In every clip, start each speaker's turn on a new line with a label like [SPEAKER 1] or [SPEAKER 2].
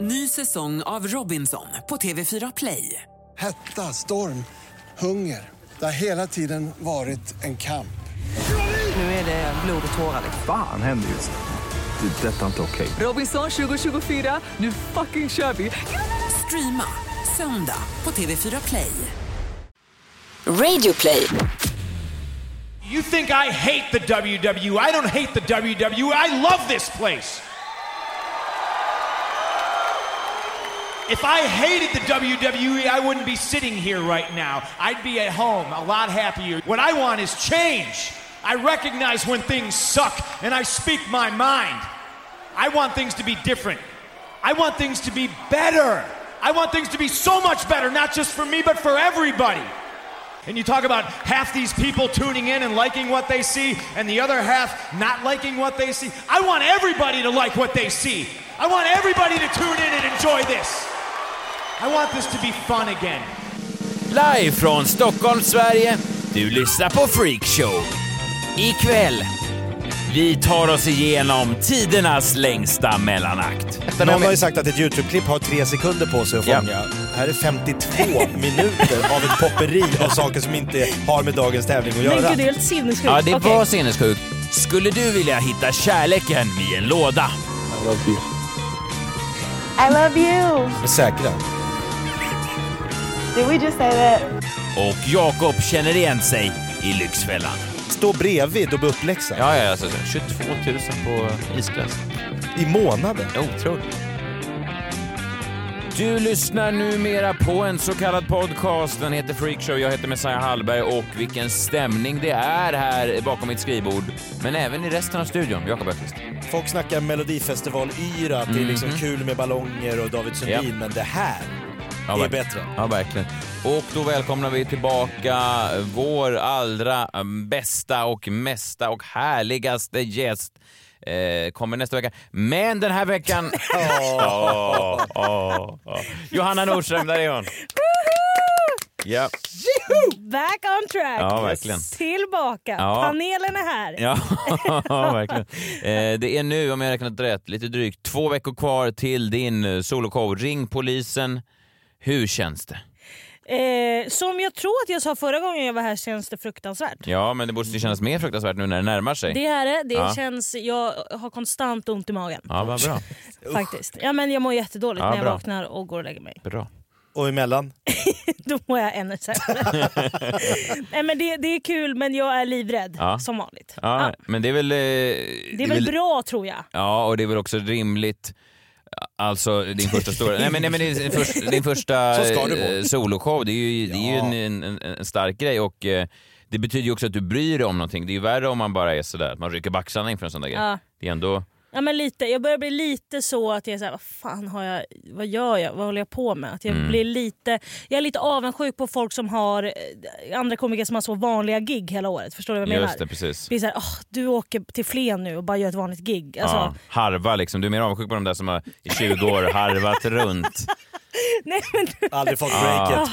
[SPEAKER 1] Ny säsong av Robinson på TV4 Play.
[SPEAKER 2] Hetta, storm, hunger. Det har hela tiden varit en kamp.
[SPEAKER 1] Nu är det blod och tårar. liksom.
[SPEAKER 3] Fan händer just nu. Det. är Detta är inte okej.
[SPEAKER 1] Robinson 2024, nu fucking kör vi! Streama söndag på TV4 Play.
[SPEAKER 4] Radio play.
[SPEAKER 5] You think I hate the WWE? I don't hate the WWE. I love this place. If I hated the WWE, I wouldn't be sitting here right now. I'd be at home a lot happier. What I want is change. I recognize when things suck and I speak my mind. I want things to be different. I want things to be better. I want things to be so much better, not just for me, but for everybody. And you talk about half these people tuning in and liking what they see, and the other half not liking what they see. I want everybody to like what they see. I want everybody to tune in and enjoy this. I want this to be fun again.
[SPEAKER 6] Live från Stockholm, Sverige. Du lyssnar på Freakshow. Ikväll, vi tar oss igenom tidernas längsta mellanakt.
[SPEAKER 7] Någon har ju sagt att ett YouTube-klipp har tre sekunder på sig att
[SPEAKER 6] Ja.
[SPEAKER 7] fånga. Här är 52 minuter av ett popperi av saker som inte har med dagens tävling att
[SPEAKER 8] Men
[SPEAKER 7] göra.
[SPEAKER 8] gud, det är helt sinnessjukt.
[SPEAKER 6] Ja, det
[SPEAKER 8] Okej.
[SPEAKER 6] var sinnessjukt. Skulle du vilja hitta kärleken i en låda?
[SPEAKER 9] I love you.
[SPEAKER 7] Är Säkra.
[SPEAKER 9] Did we just say that?
[SPEAKER 6] Och Jakob känner igen sig i Lyxfällan.
[SPEAKER 7] Stå bredvid och bli uppläxad.
[SPEAKER 10] Ja, ja, alltså 22 000 på isglass.
[SPEAKER 7] I månaden.
[SPEAKER 10] Otroligt.
[SPEAKER 6] Du lyssnar numera på en så kallad podcast. Den heter Freakshow. Jag heter Messiah Hallberg och vilken stämning det är här bakom mitt skrivbord. Men även i resten av studion. Jakob Öqvist.
[SPEAKER 7] Folk snackar melodifestival-yra, att det är liksom kul med ballonger och David Sundin,
[SPEAKER 6] Mhm. Ja.
[SPEAKER 7] men det här
[SPEAKER 6] Ja,
[SPEAKER 7] är
[SPEAKER 6] verkligen.
[SPEAKER 7] bättre.
[SPEAKER 6] Ja, verkligen. Och då välkomnar vi tillbaka vår allra mm, bästa och mesta och härligaste gäst. Eh, kommer nästa vecka. Men den här veckan... Åh, åh, åh. Johanna Nordström, där är hon. Ja.
[SPEAKER 8] Back on track.
[SPEAKER 6] Ja, verkligen.
[SPEAKER 8] Tillbaka.
[SPEAKER 6] Ja.
[SPEAKER 8] Panelen är här.
[SPEAKER 6] Ja, verkligen. Eh, det är nu, om jag räknat rätt, lite drygt två veckor kvar till din eh, soloshow. Ring polisen. Hur känns det?
[SPEAKER 8] Eh, som jag tror att jag sa förra gången jag var här känns det fruktansvärt.
[SPEAKER 6] Ja, men det borde ju kännas mer fruktansvärt nu när det närmar sig.
[SPEAKER 8] Det är det. det
[SPEAKER 6] Ja.
[SPEAKER 8] känns, jag har konstant ont i magen.
[SPEAKER 6] Ja, vad bra.
[SPEAKER 8] Faktiskt. Ja, men jag mår jättedåligt
[SPEAKER 6] Ja,
[SPEAKER 8] när jag
[SPEAKER 6] bra.
[SPEAKER 8] vaknar och går och lägger mig.
[SPEAKER 6] bra.
[SPEAKER 7] Och emellan,
[SPEAKER 8] Då mår jag ännu sämre. Nej, men det, det är kul men jag är livrädd
[SPEAKER 6] Ja.
[SPEAKER 8] som vanligt.
[SPEAKER 6] Ja,
[SPEAKER 8] Ja.
[SPEAKER 6] men det är väl... eh,
[SPEAKER 8] Det är väl bra tror jag.
[SPEAKER 6] Ja, och det är väl också rimligt. Alltså din första stora, nej men, nej, men din, först, din första
[SPEAKER 7] Så ska det vara.
[SPEAKER 6] eh, soloshow, det är ju, det är ju
[SPEAKER 7] Ja.
[SPEAKER 6] en, en, en stark grej och eh, det betyder ju också att du bryr dig om någonting. Det är ju värre om man bara är sådär, att man rycker baxarna inför en sån där grej.
[SPEAKER 8] Ja.
[SPEAKER 6] Det är ändå,
[SPEAKER 8] Ja, men lite. Jag börjar bli lite så att jag är så här, vad fan har jag, vad gör jag, vad håller jag på med? Att jag,
[SPEAKER 6] Mm.
[SPEAKER 8] blir lite, jag är lite avundsjuk på folk som har, eh, andra komiker som har så vanliga gig hela året. Förstår du vad jag menar?
[SPEAKER 6] just det precis.
[SPEAKER 8] Det är så här, "Åh, du åker till Flen nu och bara gör ett vanligt gig. Alltså,
[SPEAKER 6] Ja, harva liksom, du är mer avundsjuk på de där som har i 20 år harvat runt.
[SPEAKER 8] nej, men, Ah.
[SPEAKER 7] aldrig fått
[SPEAKER 6] Ah.
[SPEAKER 7] breaket.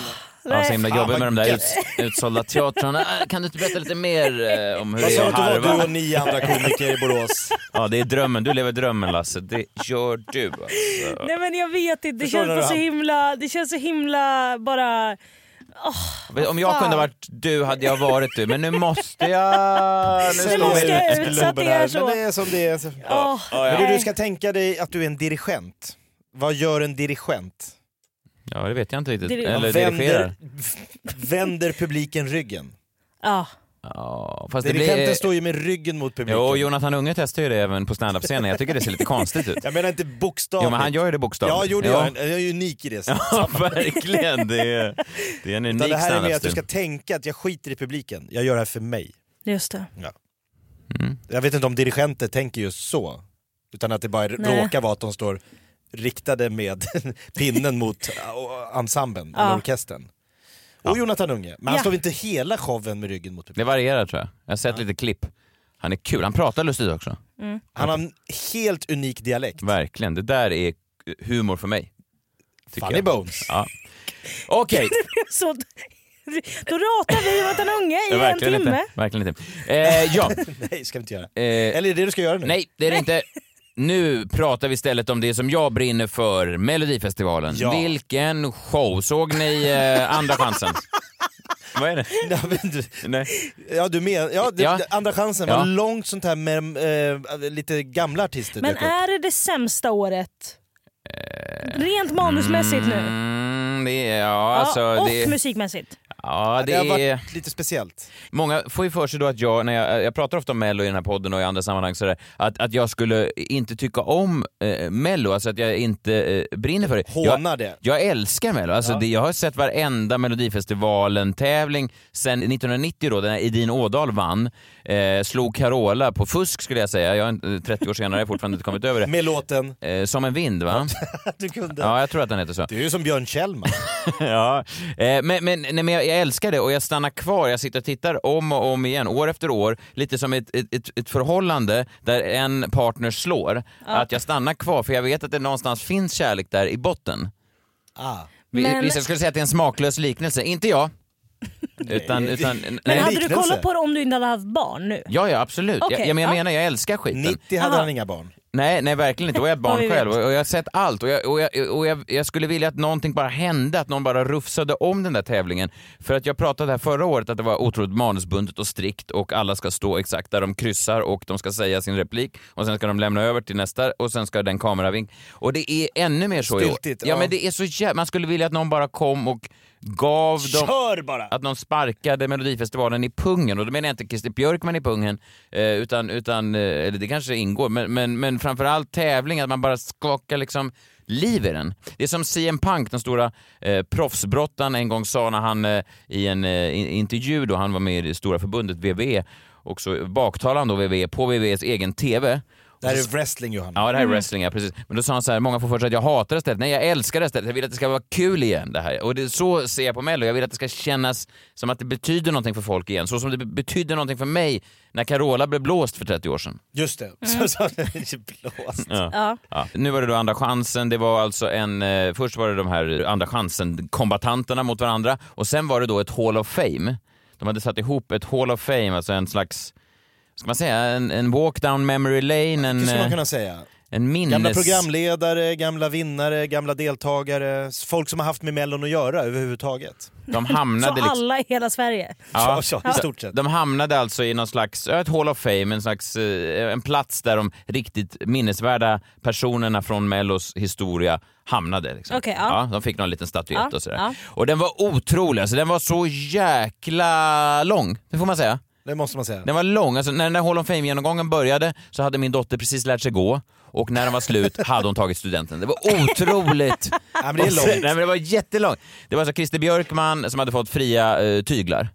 [SPEAKER 6] Ja, så himla
[SPEAKER 7] Fan,
[SPEAKER 6] jobbigt med
[SPEAKER 7] vad
[SPEAKER 6] de där
[SPEAKER 7] gött.
[SPEAKER 6] uts utsålda teatrarna. Äh, Kan du inte berätta lite mer eh, om hur
[SPEAKER 7] Jag
[SPEAKER 6] det
[SPEAKER 7] sa
[SPEAKER 6] är
[SPEAKER 7] att
[SPEAKER 6] att
[SPEAKER 7] det var du
[SPEAKER 6] harva?
[SPEAKER 7] och nio andra komiker i Borås.
[SPEAKER 6] Ja, det är drömmen. Du lever drömmen Lasse. Det gör du alltså.
[SPEAKER 8] nej men jag vet inte, det
[SPEAKER 7] Förstår
[SPEAKER 8] känns,
[SPEAKER 7] du
[SPEAKER 8] bara
[SPEAKER 7] det?
[SPEAKER 8] så himla, det känns så himla bara...
[SPEAKER 6] Om jag kunde ha varit du hade jag varit du, men nu måste jag... Nu
[SPEAKER 8] Nu
[SPEAKER 6] står
[SPEAKER 8] måste
[SPEAKER 6] vi...
[SPEAKER 8] jag ut så att det är så.
[SPEAKER 7] Men det är som det är.
[SPEAKER 8] Åh,
[SPEAKER 7] Men du,
[SPEAKER 8] nej.
[SPEAKER 7] du ska tänka dig att du är en dirigent. Vad gör en dirigent?
[SPEAKER 6] Ja, det vet jag inte riktigt.
[SPEAKER 8] Diri-
[SPEAKER 6] Eller dirigerar.
[SPEAKER 7] vänder, vänder publiken ryggen.
[SPEAKER 8] Ja.
[SPEAKER 6] Ja, fast det
[SPEAKER 7] Dirigenten
[SPEAKER 6] blir...
[SPEAKER 7] står ju med ryggen mot publiken.
[SPEAKER 6] Jo, Jonathan Unge testar ju det även på standup-scenen. Jag tycker det ser lite konstigt ut.
[SPEAKER 7] Jag menar inte bokstavligt.
[SPEAKER 6] Jo, men han gör ju det
[SPEAKER 7] Ja,
[SPEAKER 6] bokstavligt.
[SPEAKER 7] jo, det gör han. Jag är unik i det.
[SPEAKER 6] Ja, verkligen. Det är, det är en
[SPEAKER 7] Utan
[SPEAKER 6] unik
[SPEAKER 7] det här är mer att du
[SPEAKER 6] standup-stil.
[SPEAKER 7] ska tänka att jag skiter i publiken. Jag gör det här för mig.
[SPEAKER 8] Just det.
[SPEAKER 6] Mm.
[SPEAKER 7] Jag vet inte om dirigenter tänker just så. Utan att det bara
[SPEAKER 8] Nej.
[SPEAKER 7] råkar vara att de står riktade med pinnen mot äh, ensemblen, eller
[SPEAKER 8] Ja.
[SPEAKER 7] orkestern. Och Jonathan Unge. Men han
[SPEAKER 8] Ja.
[SPEAKER 7] står väl inte hela showen med ryggen mot publiken?
[SPEAKER 6] Det varierar tror jag. Jag har sett lite klipp. Han är kul. Han pratar lustigt också.
[SPEAKER 7] Han har en helt unik dialekt.
[SPEAKER 6] Verkligen. Det där är humor för mig. tycker
[SPEAKER 7] Funny
[SPEAKER 6] jag.
[SPEAKER 7] bones.
[SPEAKER 6] Ja. Okej,
[SPEAKER 8] Så, då ratar vi Jonathan Unge i en
[SPEAKER 6] verkligen,
[SPEAKER 8] timme.
[SPEAKER 6] inte. verkligen inte. Eh, ja.
[SPEAKER 7] Nej, ska vi inte göra.
[SPEAKER 6] Eh,
[SPEAKER 7] Eller är det det du ska göra nu?
[SPEAKER 6] nej, det är det inte. Nu pratar vi istället om det som jag brinner för, Melodifestivalen.
[SPEAKER 7] Ja.
[SPEAKER 6] Vilken show! Såg ni eh, Andra chansen? Vad är det?
[SPEAKER 7] Nej, men du-
[SPEAKER 6] Nej.
[SPEAKER 7] Ja, du men, ja, det,
[SPEAKER 6] Ja.
[SPEAKER 7] det- Andra chansen
[SPEAKER 6] Ja.
[SPEAKER 7] var långt sånt här med eh, lite gamla artister.
[SPEAKER 8] Men
[SPEAKER 7] dök upp.
[SPEAKER 8] är det det sämsta året? Rent manusmässigt nu.
[SPEAKER 6] Eh, Mm, det är, ja,
[SPEAKER 8] Ja,
[SPEAKER 6] alltså,
[SPEAKER 8] och
[SPEAKER 6] det,
[SPEAKER 8] musikmässigt.
[SPEAKER 6] ja, det
[SPEAKER 7] det har
[SPEAKER 6] är...
[SPEAKER 7] varit lite speciellt.
[SPEAKER 6] Många får ju för sig då att jag, när jag, jag pratar ofta om Mello i den här podden och i andra sammanhang, så där, att, att jag skulle inte tycka om eh, Mello, alltså att jag inte eh, brinner för det.
[SPEAKER 7] Hånar
[SPEAKER 6] jag,
[SPEAKER 7] det.
[SPEAKER 6] Jag älskar Mello. Alltså det, jag har sett varenda Melodifestivalen-tävling sen 1990 då, när Edin Ådahl vann. Eh, slog Carola på fusk skulle jag säga. Jag är inte- 30 år senare har jag fortfarande inte kommit över det.
[SPEAKER 7] Med låten
[SPEAKER 6] Eh, som en vind va?
[SPEAKER 7] Du kunde.
[SPEAKER 6] Ja, jag tror att den heter så.
[SPEAKER 7] Du är ju som Björn Kjellman.
[SPEAKER 6] Ja, eh, men, men, nej, men jag, jag älskar det och jag stannar kvar. Jag sitter och tittar om och om igen, år efter år. Lite som ett, ett, ett, ett förhållande där en partner slår. Att jag stannar kvar för jag vet att det någonstans finns kärlek där i botten.
[SPEAKER 7] ah.
[SPEAKER 6] Vi-
[SPEAKER 8] Men-
[SPEAKER 6] Vissa skulle säga att det är en smaklös liknelse, inte jag. utan, utan,
[SPEAKER 8] Men
[SPEAKER 6] nej.
[SPEAKER 8] hade du
[SPEAKER 7] liknelse.
[SPEAKER 8] kollat på det om du inte hade haft barn nu?
[SPEAKER 6] Ja, ja absolut.
[SPEAKER 8] Okej,
[SPEAKER 6] jag, jag, men jag
[SPEAKER 8] ja.
[SPEAKER 6] menar, jag älskar skiten.
[SPEAKER 7] 90 hade
[SPEAKER 8] Aha.
[SPEAKER 7] han inga barn.
[SPEAKER 6] Nej, nej verkligen inte. Och jag är ett
[SPEAKER 8] Oj,
[SPEAKER 6] barn
[SPEAKER 8] vet.
[SPEAKER 6] själv och jag har sett allt och, jag, och, jag, och jag, jag skulle vilja att någonting bara hände, att någon bara rufsade om den där tävlingen. För att jag pratade här förra året att det var otroligt manusbundet och strikt och alla ska stå exakt där de kryssar och de ska säga sin replik och sen ska de lämna över till nästa och sen ska den kameravink. Och det är ännu mer så
[SPEAKER 7] Stiltigt,
[SPEAKER 6] i år. Ja,
[SPEAKER 7] ja.
[SPEAKER 6] men det är så jävla... Man skulle vilja att någon bara kom och gav dem
[SPEAKER 7] Kör bara!
[SPEAKER 6] att någon sparkade Melodifestivalen i pungen och då menar jag inte Christer Björkman i pungen eh, utan, utan eh, eller det kanske ingår, men, men, men framförallt tävling, att man bara skakar liksom liv i den. Det är som CM Punk, den stora eh, proffsbrottaren, en gång sa när han eh, i en eh, in- intervju då han var med i det stora förbundet E, VVE och så baktalade han då VVE E på VVEs egen TV
[SPEAKER 7] Det här är wrestling Johanna.
[SPEAKER 6] Ja, det här är wrestling, ja, precis. Men då sa han så här, många får för sig att jag hatar det stället. Nej, jag älskar det stället. Jag vill att det ska vara kul igen det här. Och det, så ser jag på Mello. Jag vill att det ska kännas som att det betyder någonting för folk igen. Så som det be- betyder någonting för mig när Carola blev blåst för 30 år sedan.
[SPEAKER 7] Just det.
[SPEAKER 8] Mm.
[SPEAKER 7] Så, så, blåst.
[SPEAKER 8] Ja.
[SPEAKER 6] Ja. Nu var det då Andra chansen. Det var alltså en... Eh, först var det de här Andra chansen-kombatanterna mot varandra och sen var det då ett Hall of Fame. De hade satt ihop ett Hall of Fame, alltså en slags... Vad ska man säga? En, en walk down memory lane,
[SPEAKER 7] Det
[SPEAKER 6] en,
[SPEAKER 7] skulle man
[SPEAKER 6] eh,
[SPEAKER 7] kunna säga.
[SPEAKER 6] en minnes...
[SPEAKER 7] Gamla programledare, gamla vinnare, gamla deltagare, folk som har haft med Mellon att göra överhuvudtaget.
[SPEAKER 6] De
[SPEAKER 8] Så
[SPEAKER 6] hamnade liksom...
[SPEAKER 8] alla i hela Sverige.
[SPEAKER 7] Ja, så, i stort sett.
[SPEAKER 6] De hamnade alltså i någon slags, ja, ett Hall of Fame, en slags, eh, en plats där de riktigt minnesvärda personerna från Mellos historia hamnade. Liksom.
[SPEAKER 8] Okej, ja.
[SPEAKER 6] de fick någon liten statyett
[SPEAKER 8] Ja,
[SPEAKER 6] och sådär.
[SPEAKER 8] ja.
[SPEAKER 6] Och den var otrolig, alltså, den var så jäkla lång, det får man säga.
[SPEAKER 7] Det måste man säga.
[SPEAKER 6] Den var lång, alltså, när den där Hall of Fame-genomgången började så hade min dotter precis lärt sig gå och när den var slut hade hon tagit studenten. Det var otroligt!
[SPEAKER 7] Ja, men det är långt.
[SPEAKER 6] Nej, men det var jättelångt. Det var alltså Christer Björkman som hade fått fria eh, tyglar.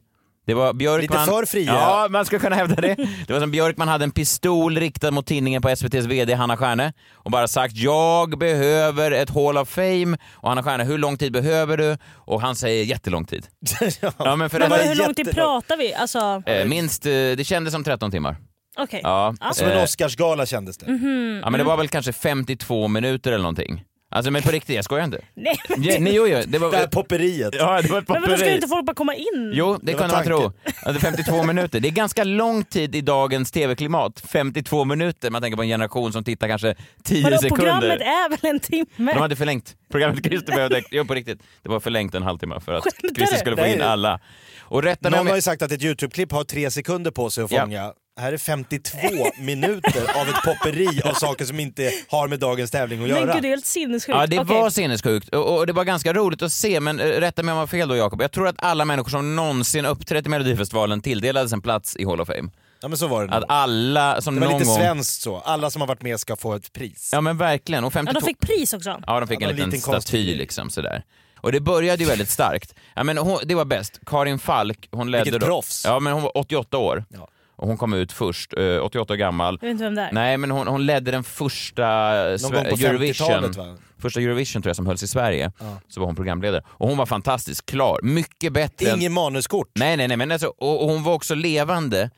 [SPEAKER 6] Det var Björkman...
[SPEAKER 7] Lite för fria.
[SPEAKER 6] Ja, man skulle kunna hävda det. Det var som Björkman hade en pistol riktad mot tidningen på SVTs VD Hanna Stjärne och bara sagt “Jag behöver ett Hall of Fame” och Hanna Stjärne “Hur lång tid behöver du?” och han säger “Jättelång tid”.
[SPEAKER 7] Ja.
[SPEAKER 6] Ja, men för
[SPEAKER 8] Men
[SPEAKER 6] det
[SPEAKER 8] vad,
[SPEAKER 6] var,
[SPEAKER 8] hur lång tid
[SPEAKER 7] jättelång.
[SPEAKER 8] pratar vi? Alltså,
[SPEAKER 6] eh, minst, eh, det kändes som 13 timmar.
[SPEAKER 8] okej.
[SPEAKER 6] Ja.
[SPEAKER 8] Alltså,
[SPEAKER 6] alltså, Eh,
[SPEAKER 7] Som en Oscarsgala kändes det.
[SPEAKER 8] Mm-hmm.
[SPEAKER 6] Ja men det var väl kanske 52 minuter eller någonting. Alltså men på riktigt, jag skojar inte.
[SPEAKER 8] Nej, men-
[SPEAKER 6] Ja, nej, jo, jo, det var...
[SPEAKER 7] Det här popperiet.
[SPEAKER 6] ja, det var ett
[SPEAKER 8] Men vadå, ska
[SPEAKER 6] popperi.
[SPEAKER 8] inte folk bara komma in?
[SPEAKER 6] Jo, det,
[SPEAKER 7] var
[SPEAKER 6] kunde man tro.
[SPEAKER 7] tanken.
[SPEAKER 6] Alltså 52 minuter. Det är ganska lång tid i dagens tv-klimat. 52 minuter. Man tänker på en generation som tittar kanske 10
[SPEAKER 8] Vadå, programmet
[SPEAKER 6] sekunder.
[SPEAKER 8] är väl en timme?
[SPEAKER 6] De hade förlängt. Programmet Christer behövde... Jo, på riktigt. Det var förlängt en halvtimme för att
[SPEAKER 8] Skämtar
[SPEAKER 6] Christer
[SPEAKER 8] du?
[SPEAKER 6] skulle få
[SPEAKER 7] Nej.
[SPEAKER 6] in alla. Och rätta mig
[SPEAKER 7] Någon
[SPEAKER 6] om
[SPEAKER 7] har
[SPEAKER 6] jag-
[SPEAKER 7] ju sagt att ett Youtube-klipp har tre sekunder på sig att
[SPEAKER 6] Ja.
[SPEAKER 7] fånga. Här är 52 minuter av ett popperi av saker som inte har med dagens tävling att
[SPEAKER 8] Men
[SPEAKER 7] göra.
[SPEAKER 8] gud, det är helt sinnessjukt.
[SPEAKER 6] Ja, det
[SPEAKER 8] Okej.
[SPEAKER 6] var sinnessjukt och, och det var ganska roligt att se, men eh, rätta mig om jag har fel då Jakob. Jag tror att alla människor som någonsin uppträtt i Melodifestivalen tilldelades en plats i Hall of Fame.
[SPEAKER 7] Ja men så var det
[SPEAKER 6] Att
[SPEAKER 7] nog.
[SPEAKER 6] alla som
[SPEAKER 7] Mm. Det var
[SPEAKER 6] någon
[SPEAKER 7] lite
[SPEAKER 6] gång...
[SPEAKER 7] svenskt så. Alla som har varit med ska få ett pris.
[SPEAKER 6] Ja men verkligen. Och
[SPEAKER 8] Ja,
[SPEAKER 6] 52...
[SPEAKER 8] de fick pris också.
[SPEAKER 6] Ja, de fick
[SPEAKER 7] Ja,
[SPEAKER 6] en
[SPEAKER 7] de
[SPEAKER 6] liten,
[SPEAKER 7] en liten
[SPEAKER 6] staty
[SPEAKER 7] konstig-
[SPEAKER 6] liksom sådär. Och det började ju väldigt starkt. Ja, men hon, det var bäst. Karin Falk, hon ledde
[SPEAKER 7] Vilket
[SPEAKER 6] då.
[SPEAKER 7] proffs.
[SPEAKER 6] Ja, men hon var 88 år.
[SPEAKER 7] Ja.
[SPEAKER 6] Och hon kom ut först, eh, 88 år gammal.
[SPEAKER 8] Jag vet inte vem det är.
[SPEAKER 6] Nej, men hon, hon ledde den första eh,
[SPEAKER 7] Någon gång på
[SPEAKER 6] Sve- Eurovision.
[SPEAKER 7] 50-talet, va?
[SPEAKER 6] Första Eurovision tror jag som hölls i Sverige. Så var hon programledare. Och hon var fantastisk, klar. Mycket bättre än...
[SPEAKER 7] Ingen manuskort.
[SPEAKER 6] Nej, nej, nej. Men alltså, och, och hon var också levande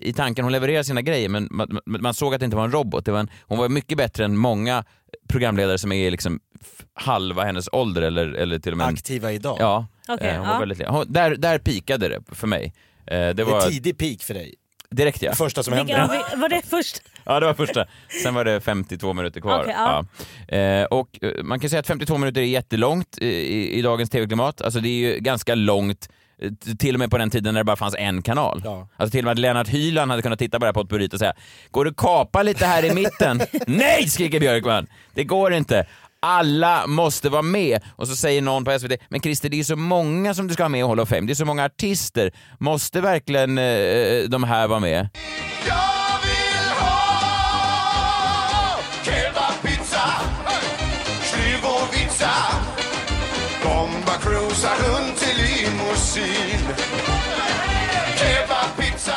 [SPEAKER 6] i tanken. Hon levererade sina grejer men man, man, man såg att det inte var en robot. Det var en, hon var mycket bättre än många programledare som är liksom f- halva hennes ålder eller, eller till och med... en-
[SPEAKER 7] Aktiva idag.
[SPEAKER 6] Ja,
[SPEAKER 8] Okej,
[SPEAKER 6] eh, hon var
[SPEAKER 8] ja.
[SPEAKER 6] väldigt le- hon, där, där pikade det för mig. Eh, det
[SPEAKER 7] Det är
[SPEAKER 6] var
[SPEAKER 7] tidig peak för dig.
[SPEAKER 6] Direkt ja.
[SPEAKER 7] Det första som
[SPEAKER 8] Vilka,
[SPEAKER 7] händer.
[SPEAKER 8] vi- var det först?
[SPEAKER 6] Ja, det var första. Sen var det 52 minuter kvar.
[SPEAKER 8] Okej, ja.
[SPEAKER 6] Ja. Eh, och eh, man kan säga att 52 minuter är jättelångt i, i, i dagens tv-klimat. Alltså det är ju ganska långt eh, t- till och med på den tiden när det bara fanns en kanal.
[SPEAKER 7] Ja.
[SPEAKER 6] Alltså till och med att Lennart Hyland hade kunnat titta på det här på ett burrito och säga “Går du kapa lite här i mitten?” “Nej!” skriker Björkman. Det går inte. Alla måste vara med. Och så säger någon på SVT “Men Christer, det är ju så många som du ska ha med i Hall of Fame. Det är så många artister. Måste verkligen eh, de här vara med?”
[SPEAKER 5] Jag vill ha kebabpizza, klyvovitsa, bomba cruisa runt i limousin. Kebabpizza.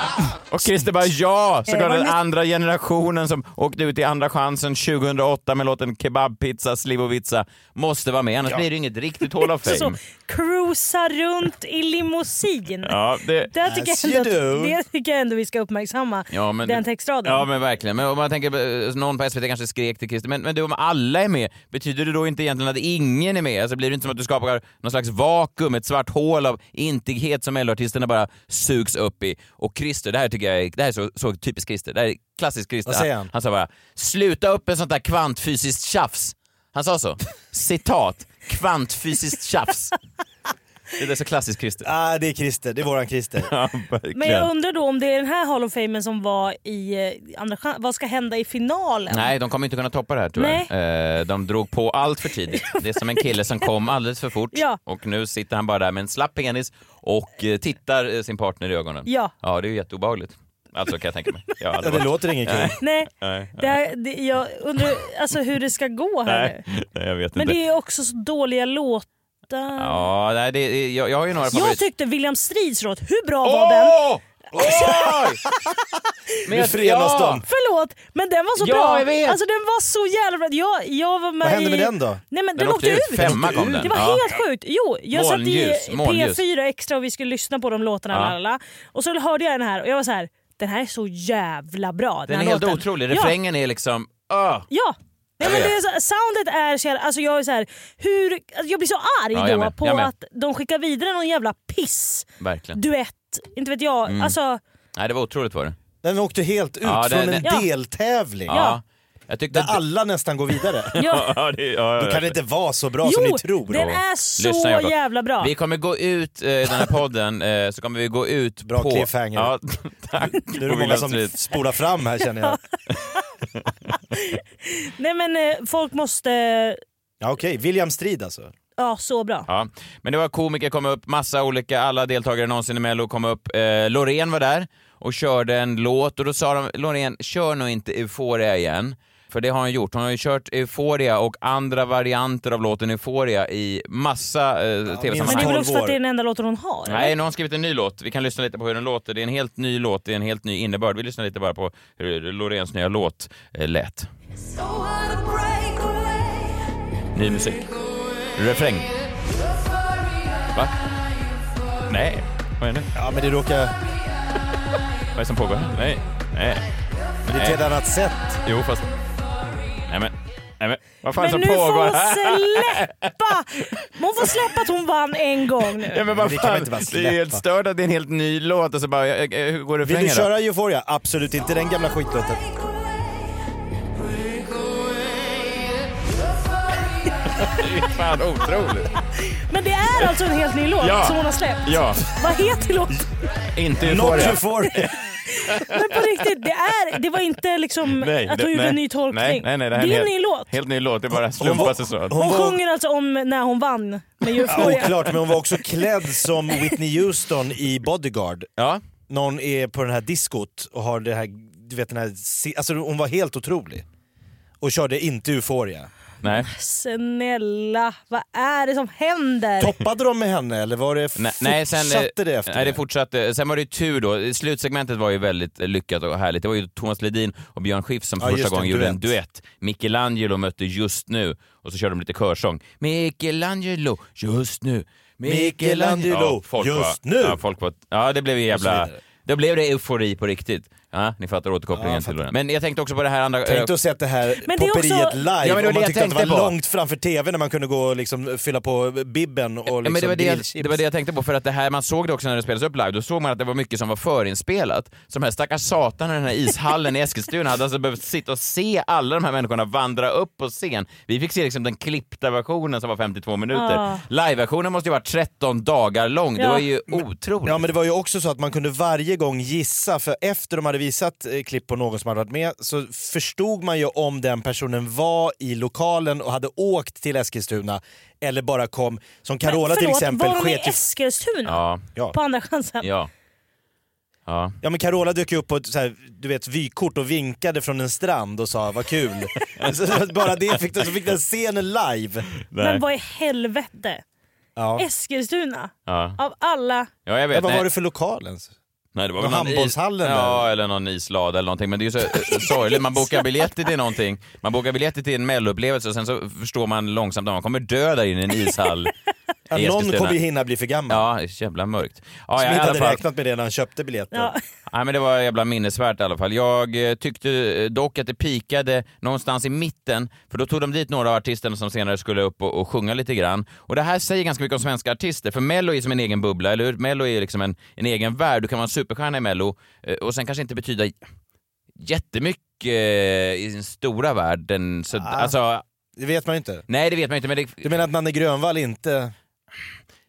[SPEAKER 6] Och Christer bara ja, så
[SPEAKER 8] Eh,
[SPEAKER 6] går
[SPEAKER 8] var
[SPEAKER 6] den
[SPEAKER 8] det-
[SPEAKER 6] andra generationen som åkte ut i Andra chansen 2008 med låten Kebabpizza Slivovica måste vara med, annars blir det inget riktigt Hall of
[SPEAKER 8] Så, så,
[SPEAKER 6] Fame.
[SPEAKER 8] cruisa runt i limousin.
[SPEAKER 6] Ja, det...
[SPEAKER 8] Det tycker,
[SPEAKER 7] As
[SPEAKER 8] jag ändå,
[SPEAKER 7] you do.
[SPEAKER 8] det tycker jag ändå vi ska uppmärksamma,
[SPEAKER 6] Ja, men-
[SPEAKER 8] den textraden.
[SPEAKER 6] Ja men verkligen, men om man tänker, eh, någon på SVT kanske skrek till Christer, men, men du om alla är med, betyder det då inte egentligen att ingen är med? Alltså blir det inte som att du skapar någon slags vakuum, ett svart hål av intighet som LO-artisterna bara sugs upp i? Och Christer, det här tycker jag är, det här är så, så typiskt Christer, det här är klassiskt Christer.
[SPEAKER 7] Vad säger han?
[SPEAKER 6] Han sa bara, sluta upp med sånt där kvantfysiskt tjafs. Han sa så. Citat, kvantfysiskt tjafs. Det där är så klassiskt Christer.
[SPEAKER 7] Ah, det är Christer, det är våran Christer.
[SPEAKER 6] Ja,
[SPEAKER 8] Men jag
[SPEAKER 6] verkligen.
[SPEAKER 8] undrar då om det är den här Hall of Famen som var i eh, Andra chans- Vad ska hända i finalen?
[SPEAKER 6] Nej, de kommer inte kunna toppa det här tyvärr. Eh, de drog på allt för tidigt. Det är som en kille som kom alldeles för fort
[SPEAKER 8] Ja.
[SPEAKER 6] och nu sitter han bara där med en slapp penis och eh, tittar eh, sin partner i ögonen.
[SPEAKER 8] Ja.
[SPEAKER 6] ja det är ju jätteobehagligt. Alltså kan jag tänka mig. Jag har
[SPEAKER 7] Ja,
[SPEAKER 6] aldrig
[SPEAKER 7] det
[SPEAKER 6] varit-
[SPEAKER 7] låter inget kul.
[SPEAKER 8] Nej, det här, det, jag undrar alltså, hur det ska gå här
[SPEAKER 6] Nej,
[SPEAKER 8] nu.
[SPEAKER 6] nej, jag vet
[SPEAKER 8] Men
[SPEAKER 6] inte.
[SPEAKER 8] det är också så dåliga låtar.
[SPEAKER 6] Ja, nej, det är, jag, jag har ju några
[SPEAKER 8] jag
[SPEAKER 6] favoriter.
[SPEAKER 8] tyckte William Strids låt, hur bra var den?
[SPEAKER 6] Oj! Men
[SPEAKER 7] Nu
[SPEAKER 6] jag-
[SPEAKER 7] förenas
[SPEAKER 6] ja!
[SPEAKER 7] de.
[SPEAKER 8] Förlåt, men den var så
[SPEAKER 6] Ja,
[SPEAKER 8] bra.
[SPEAKER 6] jag vet.
[SPEAKER 8] Alltså den var så jävla bra. Jag, jag var med
[SPEAKER 7] Vad hände
[SPEAKER 8] i...
[SPEAKER 7] med den då?
[SPEAKER 8] Nej, men den, åkte, ut.
[SPEAKER 6] Femma kom den.
[SPEAKER 8] Det var
[SPEAKER 6] Ja.
[SPEAKER 8] helt sjukt. Jo, jag
[SPEAKER 6] Molnljus,
[SPEAKER 8] satt i
[SPEAKER 6] molnljus.
[SPEAKER 8] P4 extra och vi skulle lyssna på de låtarna.
[SPEAKER 6] Ja.
[SPEAKER 8] Ja. Lalala. Och så hörde jag den här och jag var så här, den här är så jävla bra. Den,
[SPEAKER 6] Den är
[SPEAKER 8] här
[SPEAKER 6] helt
[SPEAKER 8] låten.
[SPEAKER 6] otrolig.
[SPEAKER 8] Ja.
[SPEAKER 6] Refrängen är liksom... ah.
[SPEAKER 8] Ja. Nej, men
[SPEAKER 6] Jag
[SPEAKER 8] det är så, soundet är så jävla... Alltså jag, är så här, hur, alltså jag blir så arg
[SPEAKER 6] Ja, jag
[SPEAKER 8] då
[SPEAKER 6] med,
[SPEAKER 8] på
[SPEAKER 6] jag med.
[SPEAKER 8] att de skickar vidare någon jävla piss.
[SPEAKER 6] Verkligen.
[SPEAKER 8] Duett. Inte vet jag.
[SPEAKER 6] Mm.
[SPEAKER 8] Alltså,
[SPEAKER 6] Nej, det var otroligt var det.
[SPEAKER 7] Den åkte helt ut
[SPEAKER 6] Ja,
[SPEAKER 7] från
[SPEAKER 6] den-
[SPEAKER 7] en
[SPEAKER 8] Ja.
[SPEAKER 7] deltävling.
[SPEAKER 6] Ja. Jag tyckte
[SPEAKER 7] Där
[SPEAKER 6] att-
[SPEAKER 7] alla nästan går vidare.
[SPEAKER 8] ja.
[SPEAKER 6] Ja, det, ja, ja,
[SPEAKER 7] Då
[SPEAKER 6] ja.
[SPEAKER 7] kan det inte vara så bra som
[SPEAKER 8] jo,
[SPEAKER 7] ni tror.
[SPEAKER 8] den
[SPEAKER 6] Bravo.
[SPEAKER 8] är så
[SPEAKER 6] Lyssna, Jakob.
[SPEAKER 8] jävla bra.
[SPEAKER 6] Vi kommer gå ut eh, i den här podden, eh, så kommer vi gå ut
[SPEAKER 7] Bra
[SPEAKER 6] på...
[SPEAKER 7] cliffhanger.
[SPEAKER 6] Ja, tack.
[SPEAKER 7] Nu är
[SPEAKER 6] på
[SPEAKER 7] det många
[SPEAKER 6] William
[SPEAKER 7] som
[SPEAKER 6] Street.
[SPEAKER 7] spolar fram här känner jag.
[SPEAKER 8] Nej men eh, folk måste... eh,
[SPEAKER 7] Ja, Okej, William Strid alltså.
[SPEAKER 8] Ja, så bra.
[SPEAKER 6] Ja. Men det var komiker kom upp, massa olika, alla deltagare någonsin i Mello kom upp. Eh, Loreen var där och körde en låt och då sa de Loreen, kör nog inte Euphoria igen. För det har hon gjort. Hon har ju kört Euphoria och andra varianter av låten Euphoria i massa eh,
[SPEAKER 8] Men det är
[SPEAKER 6] tv-sammanhang.
[SPEAKER 8] väl
[SPEAKER 7] Tolv
[SPEAKER 8] också för att
[SPEAKER 7] år.
[SPEAKER 8] det är den enda låten hon har? eller?
[SPEAKER 6] Nej, nu har hon skrivit en ny låt. Vi kan lyssna lite på hur den låter. Det är en helt ny låt, det är en helt ny innebörd. Vi lyssnar lite bara på hur Loreens nya låt eh, lät. Ny musik. Refräng. Va? Nej, vad är det nu?
[SPEAKER 7] Ja men det råkar...
[SPEAKER 6] Vad är det som pågår? Nej, nej,
[SPEAKER 7] Men det är ett annat sätt.
[SPEAKER 6] jo fast... Nej men, nej men, vad fan är
[SPEAKER 8] Men
[SPEAKER 6] det
[SPEAKER 8] nu
[SPEAKER 6] som
[SPEAKER 8] får
[SPEAKER 6] Alltså, pågår
[SPEAKER 8] hon
[SPEAKER 6] här?
[SPEAKER 8] släppa! Men Hon får släppa att hon vann en gång
[SPEAKER 6] Ja,
[SPEAKER 8] nu.
[SPEAKER 6] men vad
[SPEAKER 7] Det kan
[SPEAKER 6] fan,
[SPEAKER 7] man inte bara
[SPEAKER 6] det är helt
[SPEAKER 7] släppa.
[SPEAKER 6] stört att det är en helt ny låt och så bara, eh, eh, hur går
[SPEAKER 7] Vill du
[SPEAKER 6] refrängen då?
[SPEAKER 7] köra Euphoria? Absolut inte den gamla skitlåten.
[SPEAKER 6] Fan otroligt.
[SPEAKER 8] Men det är alltså en helt ny låt
[SPEAKER 6] Ja.
[SPEAKER 8] som hon har släppt.
[SPEAKER 6] Ja,
[SPEAKER 8] Vad heter låten?
[SPEAKER 6] inte
[SPEAKER 7] Not
[SPEAKER 6] Euphoria.
[SPEAKER 7] Euphoria.
[SPEAKER 8] Men på riktigt, det, är, det var inte liksom att hon gjorde en ny tolkning.
[SPEAKER 6] Nej, nej, nej, det, här
[SPEAKER 8] det är en
[SPEAKER 6] helt-
[SPEAKER 8] ny låt.
[SPEAKER 6] Helt ny låt, det bara slumpas och så.
[SPEAKER 8] Hon
[SPEAKER 7] Hon var-
[SPEAKER 8] sjunger alltså om när hon vann med
[SPEAKER 7] Ja,
[SPEAKER 8] Euphoria.
[SPEAKER 7] Oklart, men hon var också klädd som Whitney Houston i Bodyguard.
[SPEAKER 6] Ja,
[SPEAKER 7] Någon är på den här diskot och har det här, du vet den här, se- alltså hon var helt otrolig. Och körde inte Euphoria.
[SPEAKER 6] nej.
[SPEAKER 8] Snälla, vad är det som händer?
[SPEAKER 7] Toppade de med henne eller var det
[SPEAKER 6] Nej,
[SPEAKER 7] fortsatte
[SPEAKER 6] nej, sen, eh,
[SPEAKER 7] det efter
[SPEAKER 6] nej, det fortsatte. Sen var det ju tur då. Slutsegmentet var ju väldigt eh, lyckat och härligt. Det var ju Thomas Ledin och Björn Skifs som
[SPEAKER 7] Ja,
[SPEAKER 6] för första
[SPEAKER 7] just det,
[SPEAKER 6] gången gjorde en
[SPEAKER 7] duett.
[SPEAKER 6] duett. Michelangelo mötte Just nu och så körde de lite körsång. Michelangelo, just nu.
[SPEAKER 7] Michelangelo,
[SPEAKER 6] ja, folk
[SPEAKER 7] just
[SPEAKER 6] var,
[SPEAKER 7] nu.
[SPEAKER 6] Ja, folk var, ja, det blev ju
[SPEAKER 7] Och så
[SPEAKER 6] jävla...
[SPEAKER 7] vidare.
[SPEAKER 6] Då blev det eufori på riktigt. Ja, ni fattar återkopplingen
[SPEAKER 7] Ja, jag
[SPEAKER 6] till
[SPEAKER 7] fattar.
[SPEAKER 6] Loreen. Men jag tänkte också på det här andra...
[SPEAKER 7] Tänk dig att se att det här
[SPEAKER 8] Men det är
[SPEAKER 7] popperiet
[SPEAKER 8] också-
[SPEAKER 7] live
[SPEAKER 6] Ja, men det var
[SPEAKER 7] och
[SPEAKER 6] det
[SPEAKER 7] man
[SPEAKER 6] jag
[SPEAKER 7] tyckte att det
[SPEAKER 6] tänkte
[SPEAKER 7] var
[SPEAKER 6] på.
[SPEAKER 7] långt framför tvn när man kunde gå och liksom fylla på bibben och liksom
[SPEAKER 6] Ja, men det, var det, jag,
[SPEAKER 7] grillchips.
[SPEAKER 6] det var det jag tänkte på, för att det här, man såg det också när det spelades upp live, då såg man att det var mycket som var förinspelat. Så de här stackars satarna i den här ishallen i Eskilstuna hade alltså behövt sitta och se alla de här människorna vandra upp på scen. Vi fick se liksom den klippta versionen som var 52 minuter.
[SPEAKER 8] Ah.
[SPEAKER 6] Live-versionen måste ju vara 13 dagar lång, det
[SPEAKER 8] Ja.
[SPEAKER 6] var ju otroligt.
[SPEAKER 7] Ja men det var ju också så att man kunde varje gång gissa, för efter de hade visat eh, klipp på någon som hade varit med så förstod man ju om den personen var i lokalen och hade åkt till Eskilstuna eller bara kom, som Carola
[SPEAKER 8] Men
[SPEAKER 7] till
[SPEAKER 8] förlåt,
[SPEAKER 7] exempel.
[SPEAKER 8] Var hon i
[SPEAKER 7] sket ju-
[SPEAKER 8] Eskilstuna?
[SPEAKER 6] Ja,
[SPEAKER 7] Ja.
[SPEAKER 8] På andra chansen?
[SPEAKER 6] ja. Ja.
[SPEAKER 7] Ja men Carola dök ju upp på ett så här, du vet, vykort och vinkade från en strand och sa vad kul. så, så att bara det fick, den- så fick den scenen live.
[SPEAKER 8] Men vad i helvete?
[SPEAKER 7] Ja.
[SPEAKER 8] Eskilstuna?
[SPEAKER 6] Ja.
[SPEAKER 8] Av alla...
[SPEAKER 6] ja, jag vet.
[SPEAKER 7] Ja, vad
[SPEAKER 6] Nej.
[SPEAKER 7] var det för lokal ens?
[SPEAKER 6] Nej, det var
[SPEAKER 7] Någon
[SPEAKER 6] väl någon is-
[SPEAKER 7] handbollshallen
[SPEAKER 6] Ja, eller någon islada eller någonting. Men det är ju så eh, sorgligt. Man bokar biljetter till någonting. Man bokar biljetter till en melloupplevelse och sen så förstår man långsamt att man kommer dö där inne i en ishall
[SPEAKER 7] Ja,
[SPEAKER 6] i
[SPEAKER 7] någon
[SPEAKER 6] Eskilstuna.
[SPEAKER 7] kommer ju hinna bli för gammal.
[SPEAKER 6] Ja, det är så jävla mörkt. Ja,
[SPEAKER 7] Som
[SPEAKER 6] ja, i
[SPEAKER 7] inte
[SPEAKER 6] alla
[SPEAKER 7] hade
[SPEAKER 6] fall.
[SPEAKER 7] räknat med det när han köpte biljetten.
[SPEAKER 8] Ja.
[SPEAKER 6] Nej, men det var jävla minnesvärt i alla fall. Jag eh, tyckte eh, dock att det pikade någonstans i mitten, för då tog de dit några av artisterna som senare skulle upp och, och sjunga lite grann. Och det här säger ganska mycket om svenska artister, för Mello är som en egen bubbla, eller hur? Mello är liksom en, en egen värld. Du kan vara en superstjärna i Mello eh, och sen kanske inte betyda jättemycket eh, i den stora världen. Så, alltså,
[SPEAKER 7] Det vet man ju inte.
[SPEAKER 6] nej, det vet man inte, men det...
[SPEAKER 7] Ah. Du menar att Nanne Grönvall inte...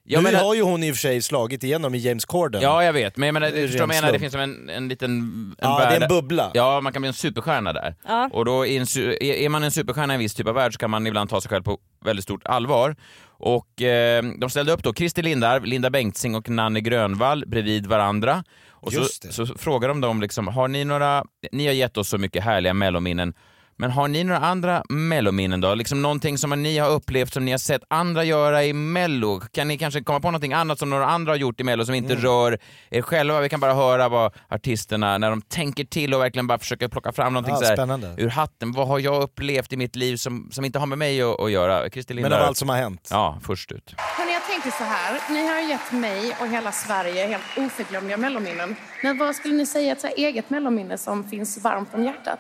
[SPEAKER 6] Jag
[SPEAKER 7] nu
[SPEAKER 6] menar-
[SPEAKER 7] har ju hon i och för sig slagit igenom i James Corden.
[SPEAKER 6] Ja, jag vet. Men jag menar,
[SPEAKER 7] Det är
[SPEAKER 6] du förstår
[SPEAKER 7] ren
[SPEAKER 6] vad jag menar, det
[SPEAKER 7] slump.
[SPEAKER 6] finns som en, en liten... En
[SPEAKER 7] Ja, det är en
[SPEAKER 6] värld-
[SPEAKER 7] bubbla.
[SPEAKER 6] Ja, man kan bli en superstjärna där.
[SPEAKER 8] Ja.
[SPEAKER 6] Och då är, en, su- är är man en superstjärna i en viss typ av värld så kan man ibland ta sig själv på väldigt stort allvar. Och eh, de ställde upp då Christer Lindarw, Linda Bengtzing och Nanne Grönvall bredvid varandra. Och så,
[SPEAKER 7] Just det.
[SPEAKER 6] så frågar de dem liksom, har ni några, ni har gett oss så mycket härliga mellominnen, men har ni några andra mellominnen då? Liksom någonting som ni har upplevt som ni har sett andra göra i mello? Kan ni kanske komma på någonting annat som några andra har gjort i mello som inte
[SPEAKER 7] Mm.
[SPEAKER 6] rör er själva? Vi kan bara höra vad artisterna, när de tänker till och verkligen bara försöker plocka fram någonting
[SPEAKER 7] Ah,
[SPEAKER 6] så här
[SPEAKER 7] spännande.
[SPEAKER 6] ur hatten. Vad har jag upplevt i mitt liv som, som inte har med mig att, att göra? Christer
[SPEAKER 7] Men
[SPEAKER 6] Lindarw.
[SPEAKER 7] av allt som har hänt.
[SPEAKER 6] Ja, först ut.
[SPEAKER 9] Hörrni, jag tänker så här. Ni har gett mig och hela Sverige helt oförglömliga mellominnen. Men vad skulle ni säga är ett så här eget mellominne som finns varmt om hjärtat?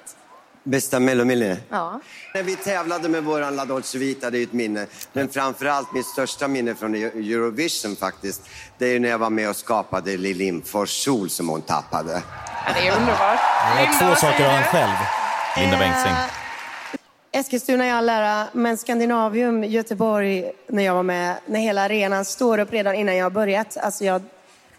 [SPEAKER 11] Bästa mellominne?
[SPEAKER 9] Ja.
[SPEAKER 11] När vi tävlade med vår La Dolce Vita, det är ju ett minne. Men framför allt mitt största minne från Eu- Eurovision faktiskt, det är ju när jag var med och skapade Lill Lindfors sol som hon tappade.
[SPEAKER 9] ja det är underbart.
[SPEAKER 7] Det var två saker av han själv.
[SPEAKER 6] Linda Bengtzing.
[SPEAKER 9] Eskilstuna i all ära, men Skandinavium, Göteborg, när jag var med, när hela arenan står upp redan innan jag har börjat. Alltså jag,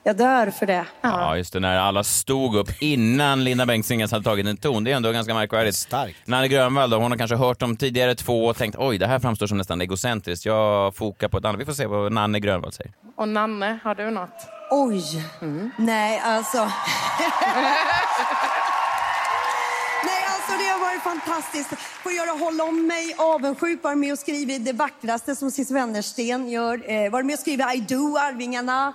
[SPEAKER 9] jag dör för det.
[SPEAKER 6] Ja, just det. När alla stod upp innan Linda Bengtzing ens hade tagit en ton. Det är ändå ganska märkvärdigt.
[SPEAKER 7] Starkt.
[SPEAKER 6] Nanne Grönvall då, hon har kanske hört om tidigare två och tänkt oj, det här framstår som nästan egocentriskt. Jag fokar på ett annat. Vi får se vad Nanne Grönvall säger.
[SPEAKER 9] Och Nanne, har du något?
[SPEAKER 11] Oj! Nej, alltså... Nej, alltså det har varit fantastiskt. Får göra Håll om mig, Avundsjuk, var med och skrivit det vackraste som Cissi Wennersten gör. Eh, var med och skrivit I do, Arvingarna,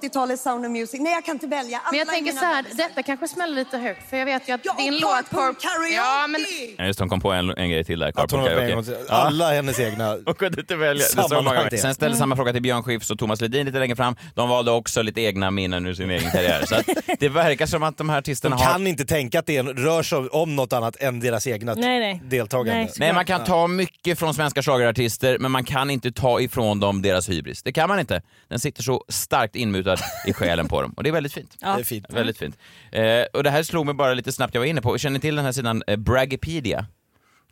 [SPEAKER 11] 80-talets Sound of Music. Nej, jag kan inte välja.
[SPEAKER 9] Mm. Men jag
[SPEAKER 11] Alla är
[SPEAKER 9] tänker
[SPEAKER 11] mina
[SPEAKER 9] så här,
[SPEAKER 11] kompisar.
[SPEAKER 9] detta kanske smäller lite högt för jag vet ju att
[SPEAKER 11] Ja,
[SPEAKER 9] din
[SPEAKER 11] och
[SPEAKER 9] låt...
[SPEAKER 11] carpool
[SPEAKER 9] Corp- Ja, men
[SPEAKER 6] Ja, just det, hon kom på en, en grej till där.
[SPEAKER 7] Att hon
[SPEAKER 6] Carpool
[SPEAKER 7] var med
[SPEAKER 6] Karaoke.
[SPEAKER 7] en gång till.
[SPEAKER 6] Ja.
[SPEAKER 7] Alla Mm. hennes egna.
[SPEAKER 6] Hon kunde inte välja. Det
[SPEAKER 7] Samma
[SPEAKER 6] så många
[SPEAKER 7] idé.
[SPEAKER 6] Sen ställde samma fråga till Björn Skifs och Thomas Ledin lite längre fram. De valde också lite egna minnen ur sin egen karriär. Så att det verkar som att de här artisterna
[SPEAKER 7] De
[SPEAKER 6] har...
[SPEAKER 7] kan inte tänka att det är- rör sig om något annat än deras egna
[SPEAKER 8] Nej, nej.
[SPEAKER 7] deltagande.
[SPEAKER 8] Nej, så-
[SPEAKER 6] Nej, man kan ta mycket från svenska schlagerartister, men man kan inte ta ifrån dem deras hybris. Det kan man inte. Den sitter så starkt inmutad i själen på dem. Och det är väldigt fint.
[SPEAKER 7] Det är fint.
[SPEAKER 6] Väldigt fint. Eh, och det här slog mig bara lite snabbt, jag var inne på, känner ni till den här sidan eh, Braggipedia?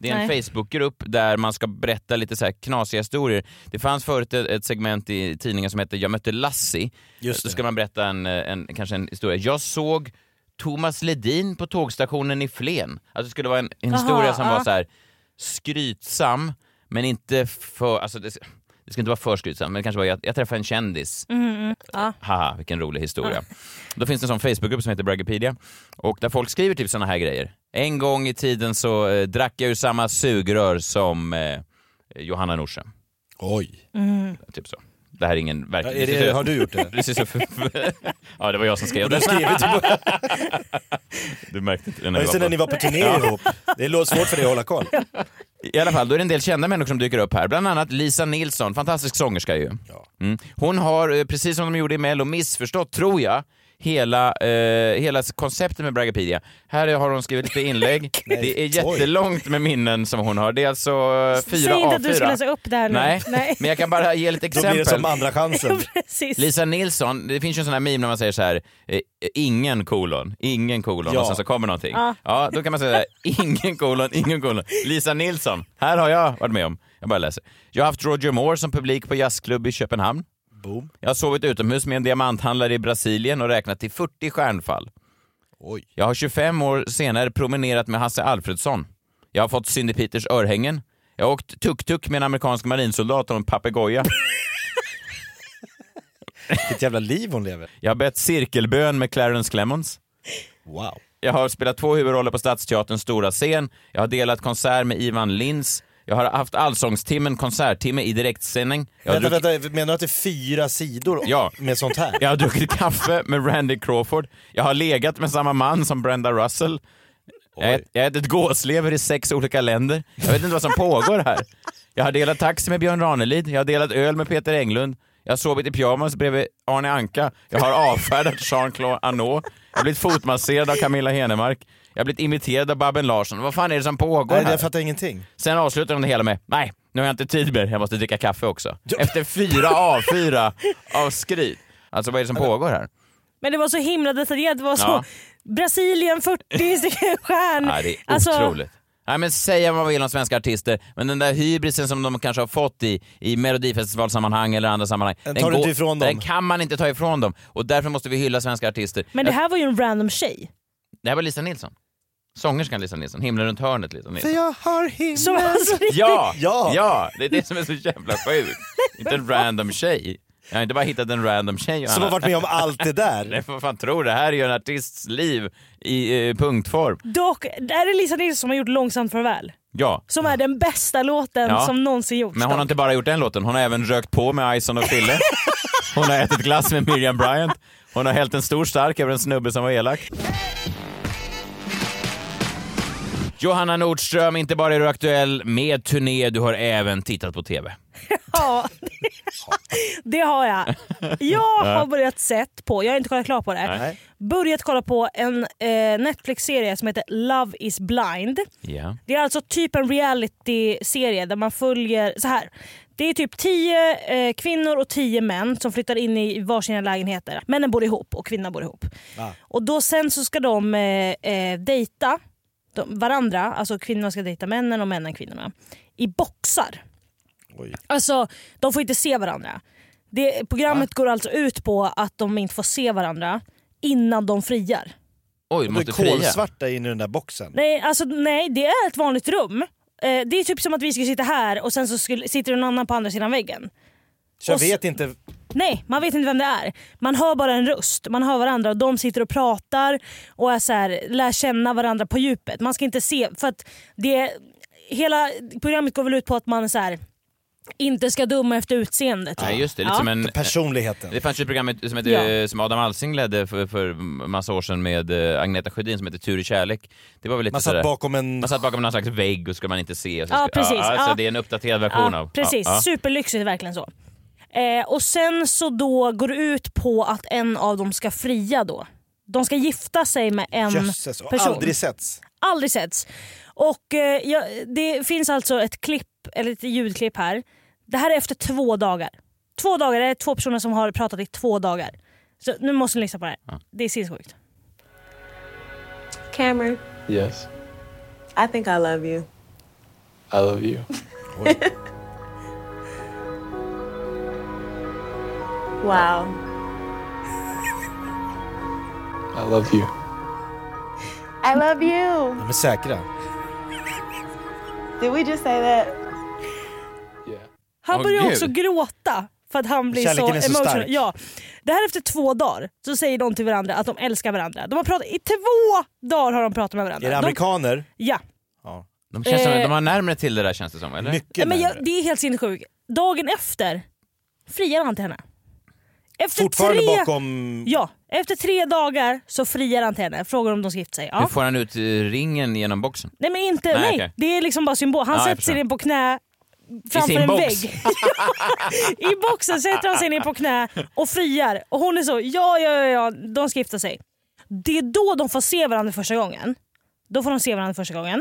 [SPEAKER 6] Det är en
[SPEAKER 8] Nej.
[SPEAKER 6] Facebookgrupp där man ska berätta lite så här knasiga historier. Det fanns förut ett, ett segment i tidningen som hette Jag mötte Lassie.
[SPEAKER 7] Just
[SPEAKER 6] Då
[SPEAKER 7] det.
[SPEAKER 6] ska man berätta en, eh, en, kanske en historia. Jag såg Thomas Ledin på tågstationen i Flen. Alltså det skulle vara en, en
[SPEAKER 8] Jaha,
[SPEAKER 6] historia som
[SPEAKER 8] ja.
[SPEAKER 6] var så här skrytsam, men inte för... Alltså det, det ska inte vara för skrytsam, men det kanske var jag, jag träffade en kändis. Haha, vilken rolig historia. Då finns det en sån Facebookgrupp som heter Braggipedia och där folk skriver typ såna här grejer. En gång i tiden så eh, drack jag ur samma sugrör som eh, Johanna Nordström.
[SPEAKER 7] Oj.
[SPEAKER 6] Typ så. Det här är ingen
[SPEAKER 7] Ja,
[SPEAKER 6] verklig...
[SPEAKER 7] är det, har du gjort det?
[SPEAKER 6] Det ser så för... ja, det var jag som skrev det.
[SPEAKER 7] Skrivit på,
[SPEAKER 6] Du märkte inte det
[SPEAKER 7] ja, just det, när ni var på turné ihop. Det låter svårt för dig att hålla koll.
[SPEAKER 6] I alla fall, då är det en del kända människor som dyker upp här. Bland annat Lisa Mm. Nilsson, fantastisk sångerska ju. Mm. Hon har, eh, precis som de gjorde i Mello, missförstått, tror jag, hela, eh, hela konceptet med Braggapedia. Här har hon skrivit lite inlägg. det är jättelångt med minnen som hon har. Det är alltså eh, fyra
[SPEAKER 8] Säg inte
[SPEAKER 6] A4.
[SPEAKER 8] att du ska läsa upp det här nu.
[SPEAKER 6] Nej,
[SPEAKER 8] Nej.
[SPEAKER 6] men jag kan bara ge lite
[SPEAKER 7] Då
[SPEAKER 6] exempel.
[SPEAKER 7] blir det som andra chansen.
[SPEAKER 8] Precis.
[SPEAKER 6] Lisa Nilsson, det finns ju en sån här meme när man säger så här, eh, ingen kolon, ingen kolon
[SPEAKER 7] Ja.
[SPEAKER 6] och sen så kommer någonting.
[SPEAKER 8] Ja.
[SPEAKER 6] Ja. då kan man säga så här, ingen kolon, ingen kolon. Lisa Nilsson, här har jag varit med om. Jag bara läser. Jag har haft Roger Moore som publik på jazzklubb i Köpenhamn.
[SPEAKER 7] Boom.
[SPEAKER 6] Jag har sovit utomhus med en diamanthandlare i Brasilien och räknat till 40 stjärnfall.
[SPEAKER 7] Oj.
[SPEAKER 6] Jag har 25 år senare promenerat med Hasse Alfredsson. Jag har fått Cindy Peters örhängen. Jag har åkt tuk-tuk med en amerikansk marinsoldat och en papegoja.
[SPEAKER 7] Vilket jävla liv hon lever.
[SPEAKER 6] Jag har bett cirkelbön med Clarence Clemons.
[SPEAKER 7] Wow.
[SPEAKER 6] Jag har spelat två huvudroller på Stadsteaterns stora scen. Jag har delat konsert med Ivan Lins. Jag har haft allsångstimmen, konserttimme i direktsändning. Jag har,
[SPEAKER 7] Vänta,
[SPEAKER 6] druckit,
[SPEAKER 7] vänta, menar du att det är fyra sidor
[SPEAKER 6] Ja.
[SPEAKER 7] med sånt här?
[SPEAKER 6] jag har druckit kaffe med Randy Crawford. Jag har legat med samma man som Brenda Russell. Jag ät- jag har ätit gåslever i sex olika länder. Jag vet inte vad som pågår här. Jag har delat taxi med Björn Ranelid. Jag har delat öl med Peter Englund. Jag har sovit i pyjamas bredvid Arne Anka. Jag har avfärdat Jean-Claude Arnault. Jag har blivit fotmasserad av Camilla Henemark. Jag har blivit imiterad av Babben Larsson. Vad fan är det som pågår
[SPEAKER 7] Nej,
[SPEAKER 6] här?
[SPEAKER 7] jag fattar ingenting.
[SPEAKER 6] Sen avslutar de det hela med Nej, nu har jag inte tid mer, jag måste dricka kaffe också. Efter fyra A4 av skryt. Alltså vad är det som pågår här?
[SPEAKER 8] Men det var så himla detaljerat. Det var så
[SPEAKER 6] Ja.
[SPEAKER 8] Brasilien 40 stycken stjärn.
[SPEAKER 6] Nej, det är
[SPEAKER 8] Alltså,
[SPEAKER 6] otroligt. Nej men säga vad man vill om svenska artister, men den där hybrisen som de kanske har fått i, i melodifestivalsammanhang eller andra sammanhang.
[SPEAKER 7] Den tar du inte ifrån dem.
[SPEAKER 6] Den kan man inte ta ifrån dem. Och därför måste vi hylla svenska artister.
[SPEAKER 8] Men det här var ju en random tjej.
[SPEAKER 6] det här var Lisa Nilsson. Sångerskan Lisa Nilsson, Himlen runt hörnet Lisa Nilsson.
[SPEAKER 7] jag har himlen.
[SPEAKER 8] Som alltså,
[SPEAKER 6] Ja,
[SPEAKER 7] Ja.
[SPEAKER 6] ja. det är det som är så jävla sjukt. inte en random tjej. Jag har inte bara hittat en random tjej.
[SPEAKER 7] Som
[SPEAKER 6] Johanna.
[SPEAKER 7] har varit med om allt det där.
[SPEAKER 6] Nej, vad fan tror du? Det här är ju en artists liv i eh, punktform.
[SPEAKER 8] dock, det här är Lisa Nilsson som har gjort Långsamt farväl.
[SPEAKER 6] Ja.
[SPEAKER 8] Som är den bästa låten
[SPEAKER 6] Ja.
[SPEAKER 8] som någonsin gjorts.
[SPEAKER 6] Men hon har
[SPEAKER 8] dock.
[SPEAKER 6] inte bara gjort den låten, hon har även rökt på med Ison och Fille. Hon har ätit glass med Miriam Bryant. Hon har hällt en stor stark över en snubbe som var elak. Johanna Nordström, inte bara är du aktuell med turné, du har även tittat på TV.
[SPEAKER 8] Ja, det har jag. Jag har börjat sett på, jag har inte kollat klart på det,
[SPEAKER 7] Nej.
[SPEAKER 8] börjat kolla på en eh, Netflix-serie som heter Love is blind.
[SPEAKER 6] Ja.
[SPEAKER 8] Det är alltså typ en reality-serie där man följer så här. Det är typ tio eh, kvinnor och tio män som flyttar in i varsina lägenheter. Männen bor ihop och kvinnan bor ihop. Och då sen så ska de eh, eh, dejta de, varandra, alltså kvinnorna ska dejta männen och männen kvinnorna, i boxar.
[SPEAKER 7] Oj.
[SPEAKER 8] Alltså de får inte se varandra. Det, programmet går alltså ut på att de inte får se varandra innan de friar.
[SPEAKER 6] Oj, du
[SPEAKER 7] Du är
[SPEAKER 6] måste fria.
[SPEAKER 7] kolsvarta inne i den där boxen.
[SPEAKER 8] Nej, alltså, nej, det är ett vanligt rum. Eh, det är typ som att vi skulle sitta här och sen så skulle, sitter någon annan på andra sidan väggen.
[SPEAKER 7] Så jag
[SPEAKER 8] Och s-
[SPEAKER 7] vet inte.
[SPEAKER 8] Nej, man vet inte vem det är. Man hör bara en röst. Man hör varandra och de sitter och pratar och är så här, lär känna varandra på djupet. Man ska inte se, för att det... Hela programmet går väl ut på att man så här, inte ska döma efter utseendet.
[SPEAKER 6] Nej,
[SPEAKER 8] va?
[SPEAKER 6] just det. Lite
[SPEAKER 8] Ja.
[SPEAKER 6] som en,
[SPEAKER 7] Personligheten.
[SPEAKER 6] Det fanns ju ett program som, hette,
[SPEAKER 8] Ja.
[SPEAKER 6] som Adam Alsing ledde för, för massa år sedan med eh, Agneta Sjödin som hette Tur i kärlek. Det var väl lite
[SPEAKER 7] Man
[SPEAKER 6] sådär-
[SPEAKER 7] satt bakom en...
[SPEAKER 6] man satt bakom någon slags vägg och skulle man inte se. Och så
[SPEAKER 8] Ja,
[SPEAKER 6] skulle,
[SPEAKER 8] precis.
[SPEAKER 6] Ja, alltså,
[SPEAKER 8] Ja.
[SPEAKER 6] Det är en uppdaterad version
[SPEAKER 8] ja,
[SPEAKER 6] av...
[SPEAKER 8] Precis,
[SPEAKER 6] Ja, ja.
[SPEAKER 8] superlyxigt verkligen så. Eh, och sen så då går det ut på att en av dem ska fria då. De ska gifta sig med en
[SPEAKER 7] Jösses, och
[SPEAKER 8] person.
[SPEAKER 7] aldrig setts.
[SPEAKER 8] Aldrig setts. Och eh, ja, det finns alltså ett klipp, eller ett ljudklipp här. Det här är efter två dagar. Två dagar, det är två personer som har pratat i två dagar. Så nu måste ni lyssna på det här. Det är sinnessjukt.
[SPEAKER 12] Cameron,
[SPEAKER 10] Yes,
[SPEAKER 12] I think I love you.
[SPEAKER 10] I love you.
[SPEAKER 12] Wow.
[SPEAKER 10] I love you.
[SPEAKER 12] I love you.
[SPEAKER 7] De är säkra.
[SPEAKER 12] Did we just say that?
[SPEAKER 10] Yeah.
[SPEAKER 8] Han
[SPEAKER 6] Åh,
[SPEAKER 8] börjar
[SPEAKER 6] gud.
[SPEAKER 8] också gråta för att han blir
[SPEAKER 7] Kärleken
[SPEAKER 8] så,
[SPEAKER 7] är så
[SPEAKER 8] emotional.
[SPEAKER 7] stark.
[SPEAKER 8] Ja. Det här efter två dagar så säger de till varandra att de älskar varandra. De har pratat, I två dagar har de pratat med varandra.
[SPEAKER 7] Är det
[SPEAKER 8] de,
[SPEAKER 7] amerikaner?
[SPEAKER 8] ja.
[SPEAKER 6] De, känns som,
[SPEAKER 8] Eh.
[SPEAKER 6] de har närmare till det där känns det som, eller?
[SPEAKER 7] Mycket
[SPEAKER 8] Men jag,
[SPEAKER 7] närmare.
[SPEAKER 8] det är helt sinnessjukt. Dagen efter friar han till henne. Efter
[SPEAKER 7] Fortfarande
[SPEAKER 8] tre,
[SPEAKER 7] bakom...
[SPEAKER 8] Ja, efter tre dagar så friar han till henne. Frågar om de ska gifta sig.
[SPEAKER 6] Hur
[SPEAKER 8] Ja.
[SPEAKER 6] får han ut eh, ringen genom boxen?
[SPEAKER 8] Nej men inte, nej.
[SPEAKER 6] Nej, okej.
[SPEAKER 8] Det är liksom bara symbol. Han
[SPEAKER 6] Ja, jag
[SPEAKER 8] sätter sig
[SPEAKER 6] förstår.
[SPEAKER 8] ner på knä, framför en
[SPEAKER 6] box.
[SPEAKER 8] vägg. I boxen sätter han sig ner på knä och friar. Och hon är så, ja, ja, ja, ja, de ska gifta sig. Det är då de får se varandra första gången. Då får de se varandra första gången.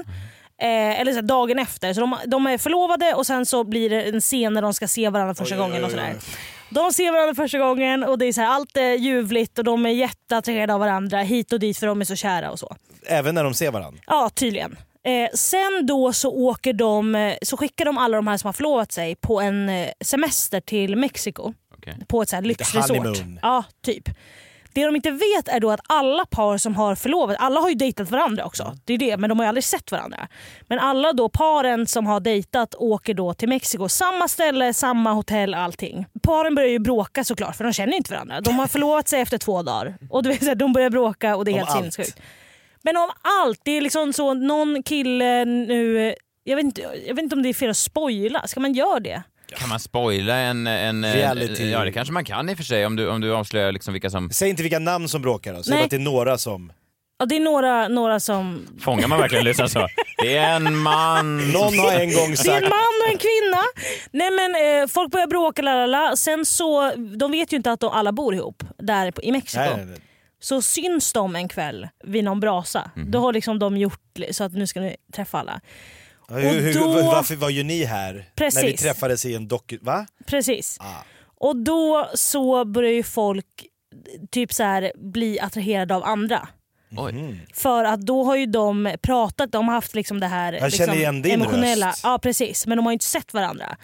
[SPEAKER 8] Eh, eller så här, dagen efter. Så de, de är förlovade och sen så blir det en scen när de ska se varandra första
[SPEAKER 13] Oj, oj,
[SPEAKER 8] gången. Och
[SPEAKER 13] oj,
[SPEAKER 8] sådär.
[SPEAKER 13] oj.
[SPEAKER 8] De ser varandra första gången och det är så här, allt är ljuvligt och de är jätteattraherade av varandra hit och dit för de är så kära och så.
[SPEAKER 7] Även när de ser varandra.
[SPEAKER 8] Ja, tydligen. Eh, sen då så åker de, eh, så skickar de alla de här som har förlovat sig på en eh, semester till Mexiko. På ett så här
[SPEAKER 13] Lite
[SPEAKER 8] lyxresort.
[SPEAKER 13] honeymoon.
[SPEAKER 8] Ja, typ. Det de inte vet är då att alla par som har förlovat, alla har ju dejtat varandra
[SPEAKER 13] Mm.
[SPEAKER 8] också. Det är det, men de har ju aldrig sett varandra. Men alla då paren som har dejtat åker då till Mexiko. Samma ställe, samma hotell, allting. Paren börjar ju bråka såklart för de känner ju inte varandra. De har förlovat sig efter två dagar. Och du vet, så här, de börjar bråka och det är
[SPEAKER 13] Om
[SPEAKER 8] helt
[SPEAKER 13] allt.
[SPEAKER 8] sinnessjukt. Men om allt. Det är liksom så någon kille nu... Jag vet, inte, jag vet inte om det är fel att spoila. Ska man göra det?
[SPEAKER 6] Kan man spoila en... en eh,
[SPEAKER 7] Reality.
[SPEAKER 6] Ja, det kanske man kan i och för sig om du, om du avslöjar liksom vilka som...
[SPEAKER 7] Säg inte vilka namn som bråkar då, säg
[SPEAKER 8] Nej.
[SPEAKER 7] bara att det är några som...
[SPEAKER 8] Ja, det är några, några som...
[SPEAKER 6] Fångar man verkligen lyssnaren så? Det är en man...
[SPEAKER 7] Någon har en gång
[SPEAKER 8] Det är en man och en kvinna. Nej men eh, Folk börjar bråka, la, la, la. Sen så, de vet ju inte att de alla bor ihop där på- i Mexiko.
[SPEAKER 13] Nej, nej, nej.
[SPEAKER 8] Så syns de en kväll vid någon brasa.
[SPEAKER 7] Mhm.
[SPEAKER 8] Då har liksom de gjort li- så att nu ska ni träffa alla.
[SPEAKER 7] Ja, Hur, hur,
[SPEAKER 8] då-
[SPEAKER 7] varför var ju ni här? När vi
[SPEAKER 8] Precis.
[SPEAKER 7] träffades i en doku... Va?
[SPEAKER 8] Precis.
[SPEAKER 7] Ah.
[SPEAKER 8] Och då så börjar ju folk typ så här bli attraherade av andra.
[SPEAKER 7] Mm.
[SPEAKER 6] Oj.
[SPEAKER 8] För att då har ju de pratat, de har haft liksom det här
[SPEAKER 7] Jag
[SPEAKER 8] liksom
[SPEAKER 7] känner igen din
[SPEAKER 8] emotionella.
[SPEAKER 7] röst.
[SPEAKER 8] Ja precis, men de har ju inte sett varandra.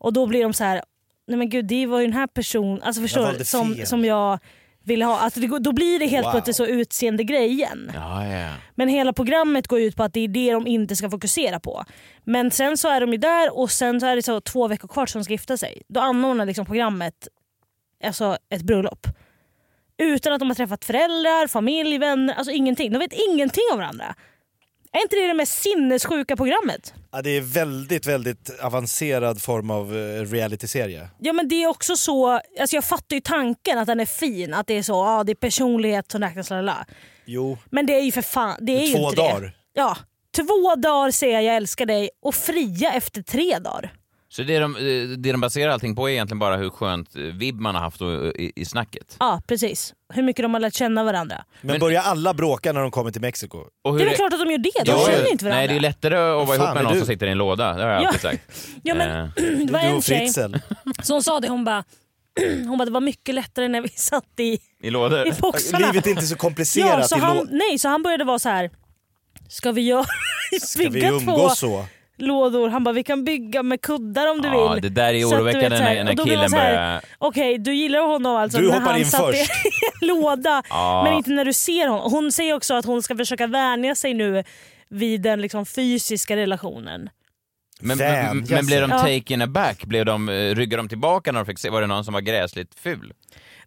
[SPEAKER 8] Och då blir de så här, nej men gud det var ju den här personen, alltså
[SPEAKER 13] Jag
[SPEAKER 8] förstår
[SPEAKER 13] valde
[SPEAKER 8] du? Som,
[SPEAKER 13] fel.
[SPEAKER 8] som jag ville ha. Alltså det, går- då blir det helt
[SPEAKER 13] Wow.
[SPEAKER 8] plötsligt så utseende grejen.
[SPEAKER 6] Ja, ja.
[SPEAKER 8] Men hela programmet går ut på att det är det de inte ska fokusera på. Men sen så är de ju där och sen så är det så två veckor kvar som de ska gifta sig. Då anordnar liksom programmet alltså ett bröllop. Utan att de har träffat föräldrar, familj, vänner, alltså ingenting. De vet ingenting om varandra. Är inte det det mest sinnessjuka programmet?
[SPEAKER 7] Ja, det är väldigt, väldigt avancerad form av eh, realityserie.
[SPEAKER 8] Ja men det är också så, alltså jag fattar ju tanken att den är fin, att det är så, ja det är personlighet som räknas, lalala.
[SPEAKER 7] Jo.
[SPEAKER 8] Men det är ju för fan, det är ju
[SPEAKER 7] Två
[SPEAKER 8] inte Det.
[SPEAKER 7] dagar.
[SPEAKER 8] Ja, två dagar säger jag älskar dig och fria efter tre dagar.
[SPEAKER 6] Så det de, eh, det de baserar allting på är egentligen bara hur skönt eh, vibb man har haft och- eh, i, i snacket.
[SPEAKER 8] Ja precis, hur mycket de har lärt känna varandra.
[SPEAKER 7] Men, börjar alla bråka när de kommer till Mexiko?
[SPEAKER 6] Och
[SPEAKER 8] det är väl klart att de gör det, de
[SPEAKER 6] Ja,
[SPEAKER 8] känner ju
[SPEAKER 6] ja.
[SPEAKER 8] inte varandra.
[SPEAKER 6] Nej, det är lättare att vara
[SPEAKER 7] Fan,
[SPEAKER 6] ihop med
[SPEAKER 7] är
[SPEAKER 6] någon
[SPEAKER 7] du-
[SPEAKER 6] som sitter i en låda. Det har jag
[SPEAKER 8] Ja.
[SPEAKER 6] alltid sagt.
[SPEAKER 8] Ja, men-
[SPEAKER 6] Eh,
[SPEAKER 8] det var
[SPEAKER 7] Du
[SPEAKER 8] en
[SPEAKER 7] och
[SPEAKER 8] tjej
[SPEAKER 7] Fritzl.
[SPEAKER 8] så hon sa det, hon bara, hon bara det var mycket lättare när vi satt i
[SPEAKER 6] I lådor.
[SPEAKER 8] I boxarna.
[SPEAKER 7] Eh, Livet är inte så komplicerat
[SPEAKER 8] Ja, så
[SPEAKER 7] i
[SPEAKER 8] han,
[SPEAKER 7] lå-
[SPEAKER 8] nej, så han började vara så här. Ska vi göra...
[SPEAKER 7] Ska vi umgås så?
[SPEAKER 8] lådor. Han bara vi kan bygga med kuddar om du
[SPEAKER 6] Ja,
[SPEAKER 8] vill.
[SPEAKER 6] det där är
[SPEAKER 8] Så att du vet
[SPEAKER 6] oroväckande
[SPEAKER 8] så här-
[SPEAKER 6] när- när
[SPEAKER 8] och då blir man
[SPEAKER 6] killen
[SPEAKER 8] så här,
[SPEAKER 6] börjar-
[SPEAKER 8] Okej, du gillar honom alltså
[SPEAKER 6] Du
[SPEAKER 8] när
[SPEAKER 6] hoppar
[SPEAKER 8] han
[SPEAKER 6] in
[SPEAKER 8] satt
[SPEAKER 6] först.
[SPEAKER 8] i en låda
[SPEAKER 6] Ja.
[SPEAKER 8] men inte när du ser honom. Hon säger också att hon ska försöka vänja sig nu vid den liksom, fysiska relationen.
[SPEAKER 6] Men,
[SPEAKER 7] Damn,
[SPEAKER 6] men, men
[SPEAKER 7] jag
[SPEAKER 6] blev de
[SPEAKER 8] ser.
[SPEAKER 6] taken aback? Blev de, eh, ryggade de tillbaka när de fick se? Var det någon som var gräsligt ful?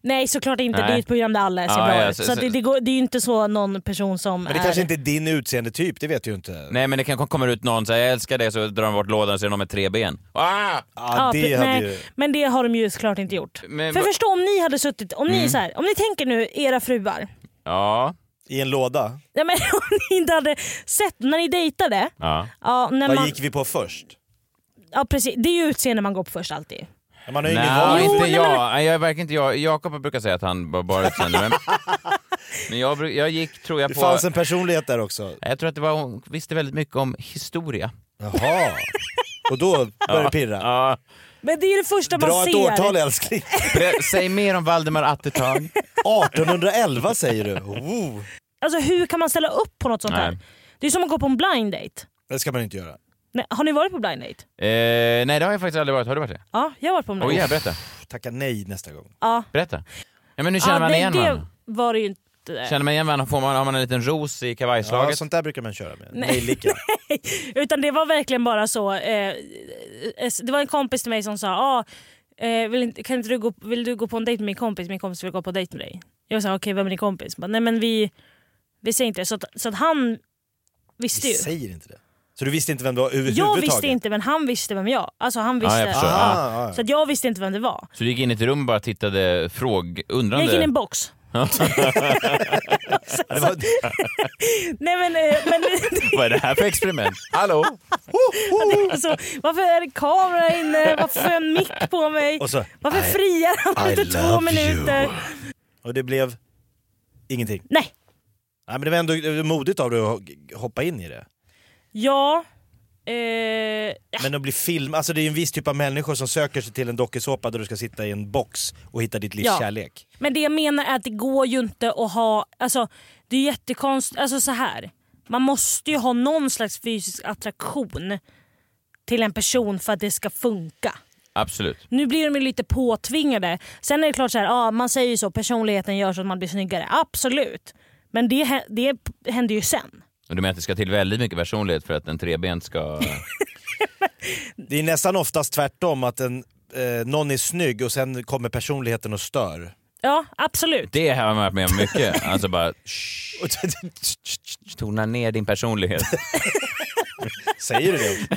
[SPEAKER 8] Nej såklart inte,
[SPEAKER 6] Nej.
[SPEAKER 8] det är ju ett program där alla ser
[SPEAKER 6] Ja,
[SPEAKER 8] bra
[SPEAKER 6] ja,
[SPEAKER 8] ut.
[SPEAKER 6] så-
[SPEAKER 8] Så, att
[SPEAKER 6] så-
[SPEAKER 8] det, det, går, det är ju inte så någon person som
[SPEAKER 7] Men det
[SPEAKER 8] är...
[SPEAKER 7] kanske inte är din utseende typ, det vet du ju inte.
[SPEAKER 6] Nej men det kan komma ut någon säger jag älskar dig så drar de bort lådan och så är det någon med tre ben. Ah!
[SPEAKER 8] Ja, pre- nej, Men det har de ju såklart inte gjort.
[SPEAKER 6] Men
[SPEAKER 8] För
[SPEAKER 6] va-
[SPEAKER 8] förstå om ni hade suttit, om ni,
[SPEAKER 6] Mm.
[SPEAKER 8] är så här, om ni tänker nu era fruar,
[SPEAKER 6] Ja.
[SPEAKER 7] I en låda?
[SPEAKER 8] Nej, men om ni inte hade sett när ni dejtade.
[SPEAKER 6] Ja.
[SPEAKER 8] Ja, när
[SPEAKER 7] Vad
[SPEAKER 8] man,
[SPEAKER 7] gick vi på först?
[SPEAKER 8] ja, precis, det är ju utseende man går på först alltid.
[SPEAKER 7] Man har ju ingen val.
[SPEAKER 6] Nej, inte jag. Nej, jag är verkligen inte jag. Jakob brukar säga att han bara- bara utseende. Men, men jag, bru- jag gick, tror jag
[SPEAKER 7] Det
[SPEAKER 6] på...
[SPEAKER 7] fanns en personlighet där också.
[SPEAKER 6] Jag tror att det var, hon visste väldigt mycket om historia.
[SPEAKER 7] Jaha. Och då började det pirra.
[SPEAKER 6] Ja.
[SPEAKER 8] Men det är ju det första
[SPEAKER 7] Dra
[SPEAKER 8] man
[SPEAKER 7] ett
[SPEAKER 8] ser.
[SPEAKER 7] årtal älskling.
[SPEAKER 6] Ber- Säg mer om Valdemar Attertag.
[SPEAKER 7] 1811 säger du. Wow.
[SPEAKER 8] Alltså hur kan man ställa upp på något sånt
[SPEAKER 6] Nej.
[SPEAKER 8] här? Det är som att gå på en blind date.
[SPEAKER 7] Det ska man inte göra.
[SPEAKER 8] Nej, har ni varit på blind date?
[SPEAKER 6] Eh, nej det har jag faktiskt aldrig varit. Har du varit det?
[SPEAKER 8] Ja, jag har varit på en
[SPEAKER 6] Oj,
[SPEAKER 8] blind
[SPEAKER 6] ja,
[SPEAKER 8] date.
[SPEAKER 6] berätta.
[SPEAKER 7] Tacka nej nästa gång.
[SPEAKER 8] Ja.
[SPEAKER 6] Berätta. Ja, men nu känner
[SPEAKER 8] ja,
[SPEAKER 6] man
[SPEAKER 8] det,
[SPEAKER 6] igen
[SPEAKER 8] det
[SPEAKER 6] varandra.
[SPEAKER 8] var det ju inte.
[SPEAKER 6] Känner man igen varandra? Får man, har man en liten ros i kavajslaget?
[SPEAKER 7] Ja, sånt där brukar man köra med.
[SPEAKER 8] Nej.
[SPEAKER 7] Nejlika.
[SPEAKER 8] Utan det var verkligen bara så. Eh, det var en kompis till mig som sa ah, eh, vill, inte, kan inte du gå, vill du gå på en dejt med min kompis? Min kompis vill gå på en dejt med dig. Jag sa okej, vem är din kompis? Bara, Nej men vi, vi säger inte det. Så, att, så att han visste
[SPEAKER 7] Vi
[SPEAKER 8] ju.
[SPEAKER 7] säger inte det. Så du visste inte vem det var
[SPEAKER 8] Jag
[SPEAKER 7] överhuvudtaget?
[SPEAKER 8] visste inte men han visste vem jag Alltså han
[SPEAKER 6] Ja, jag
[SPEAKER 8] visste.
[SPEAKER 6] förstår. Ah,
[SPEAKER 7] ja, ja.
[SPEAKER 8] Så att jag visste inte vem det var.
[SPEAKER 6] Så du gick in i ett rum och bara tittade fråg,
[SPEAKER 8] Jag
[SPEAKER 6] undrande?
[SPEAKER 8] gick in i en box.
[SPEAKER 6] det var...
[SPEAKER 8] Nej men, eh, men
[SPEAKER 6] Vad är det här för experiment? Hallå?
[SPEAKER 8] det är så, alltså, varför är det kamera inne? Varför får jag en mick på mig?
[SPEAKER 7] Och så,
[SPEAKER 8] varför
[SPEAKER 7] I-
[SPEAKER 8] friar han
[SPEAKER 7] I
[SPEAKER 8] efter två
[SPEAKER 7] love
[SPEAKER 8] minuter?
[SPEAKER 7] you. Och det blev ingenting.
[SPEAKER 8] Nej.
[SPEAKER 7] Nej men det var ändå det var modigt av dig att hoppa in i det.
[SPEAKER 8] Ja. Eh,
[SPEAKER 7] Men att bli film, alltså det är ju en viss typ av människor som söker sig till en dokusåpa där du ska sitta i en box och hitta ditt livs
[SPEAKER 8] Ja.
[SPEAKER 7] kärlek.
[SPEAKER 8] Men det jag menar är att det går ju inte att ha... Alltså, det är jättekonstigt. Alltså så här. Man måste ju ha någon slags fysisk attraktion till en person för att det ska funka.
[SPEAKER 6] Absolut.
[SPEAKER 8] Nu blir de ju lite påtvingade. Sen är det klart så här, ja, man säger ju så, personligheten gör så att man blir snyggare. Absolut. Men det, hä- det händer ju sen.
[SPEAKER 6] Och Du menar att det ska till väldigt mycket personlighet för att en trebent ska...
[SPEAKER 7] Det är nästan oftast tvärtom att en, eh, någon är snygg och sen kommer personligheten och stör.
[SPEAKER 8] Ja, absolut.
[SPEAKER 6] Det har man varit med om mycket. Alltså bara... shh, Tona ner din personlighet.
[SPEAKER 7] Säger du det?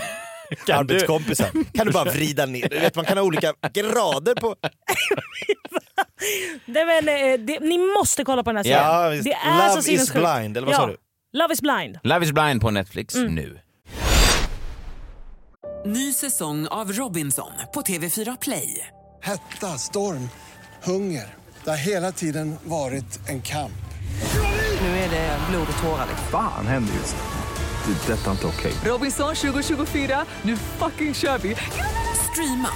[SPEAKER 6] Kan
[SPEAKER 7] Arbetskompisar. Kan du bara vrida ner? Du vet, man kan ha olika grader på...
[SPEAKER 8] Nej, men, eh, det, ni måste kolla på den här serien.
[SPEAKER 7] Ja, visst.
[SPEAKER 8] det är
[SPEAKER 7] Love
[SPEAKER 8] så
[SPEAKER 7] is
[SPEAKER 8] sinnessjukt.
[SPEAKER 7] blind, eller vad
[SPEAKER 8] ja.
[SPEAKER 7] sa du?
[SPEAKER 8] Love is blind.
[SPEAKER 6] Love is blind på Netflix
[SPEAKER 8] Mm.
[SPEAKER 6] nu.
[SPEAKER 1] Ny säsong av Robinson på TV4 Play.
[SPEAKER 2] Hetta, storm, hunger. Det har hela tiden varit en kamp.
[SPEAKER 1] Nu är det blod och tårar. liksom.
[SPEAKER 3] Fan händer just det. Det är detta inte okej.
[SPEAKER 1] Robinson 2024, nu fucking kör vi! Streama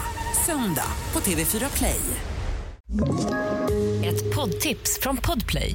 [SPEAKER 1] söndag på TV4 Play.
[SPEAKER 4] Ett poddtips från Podplay.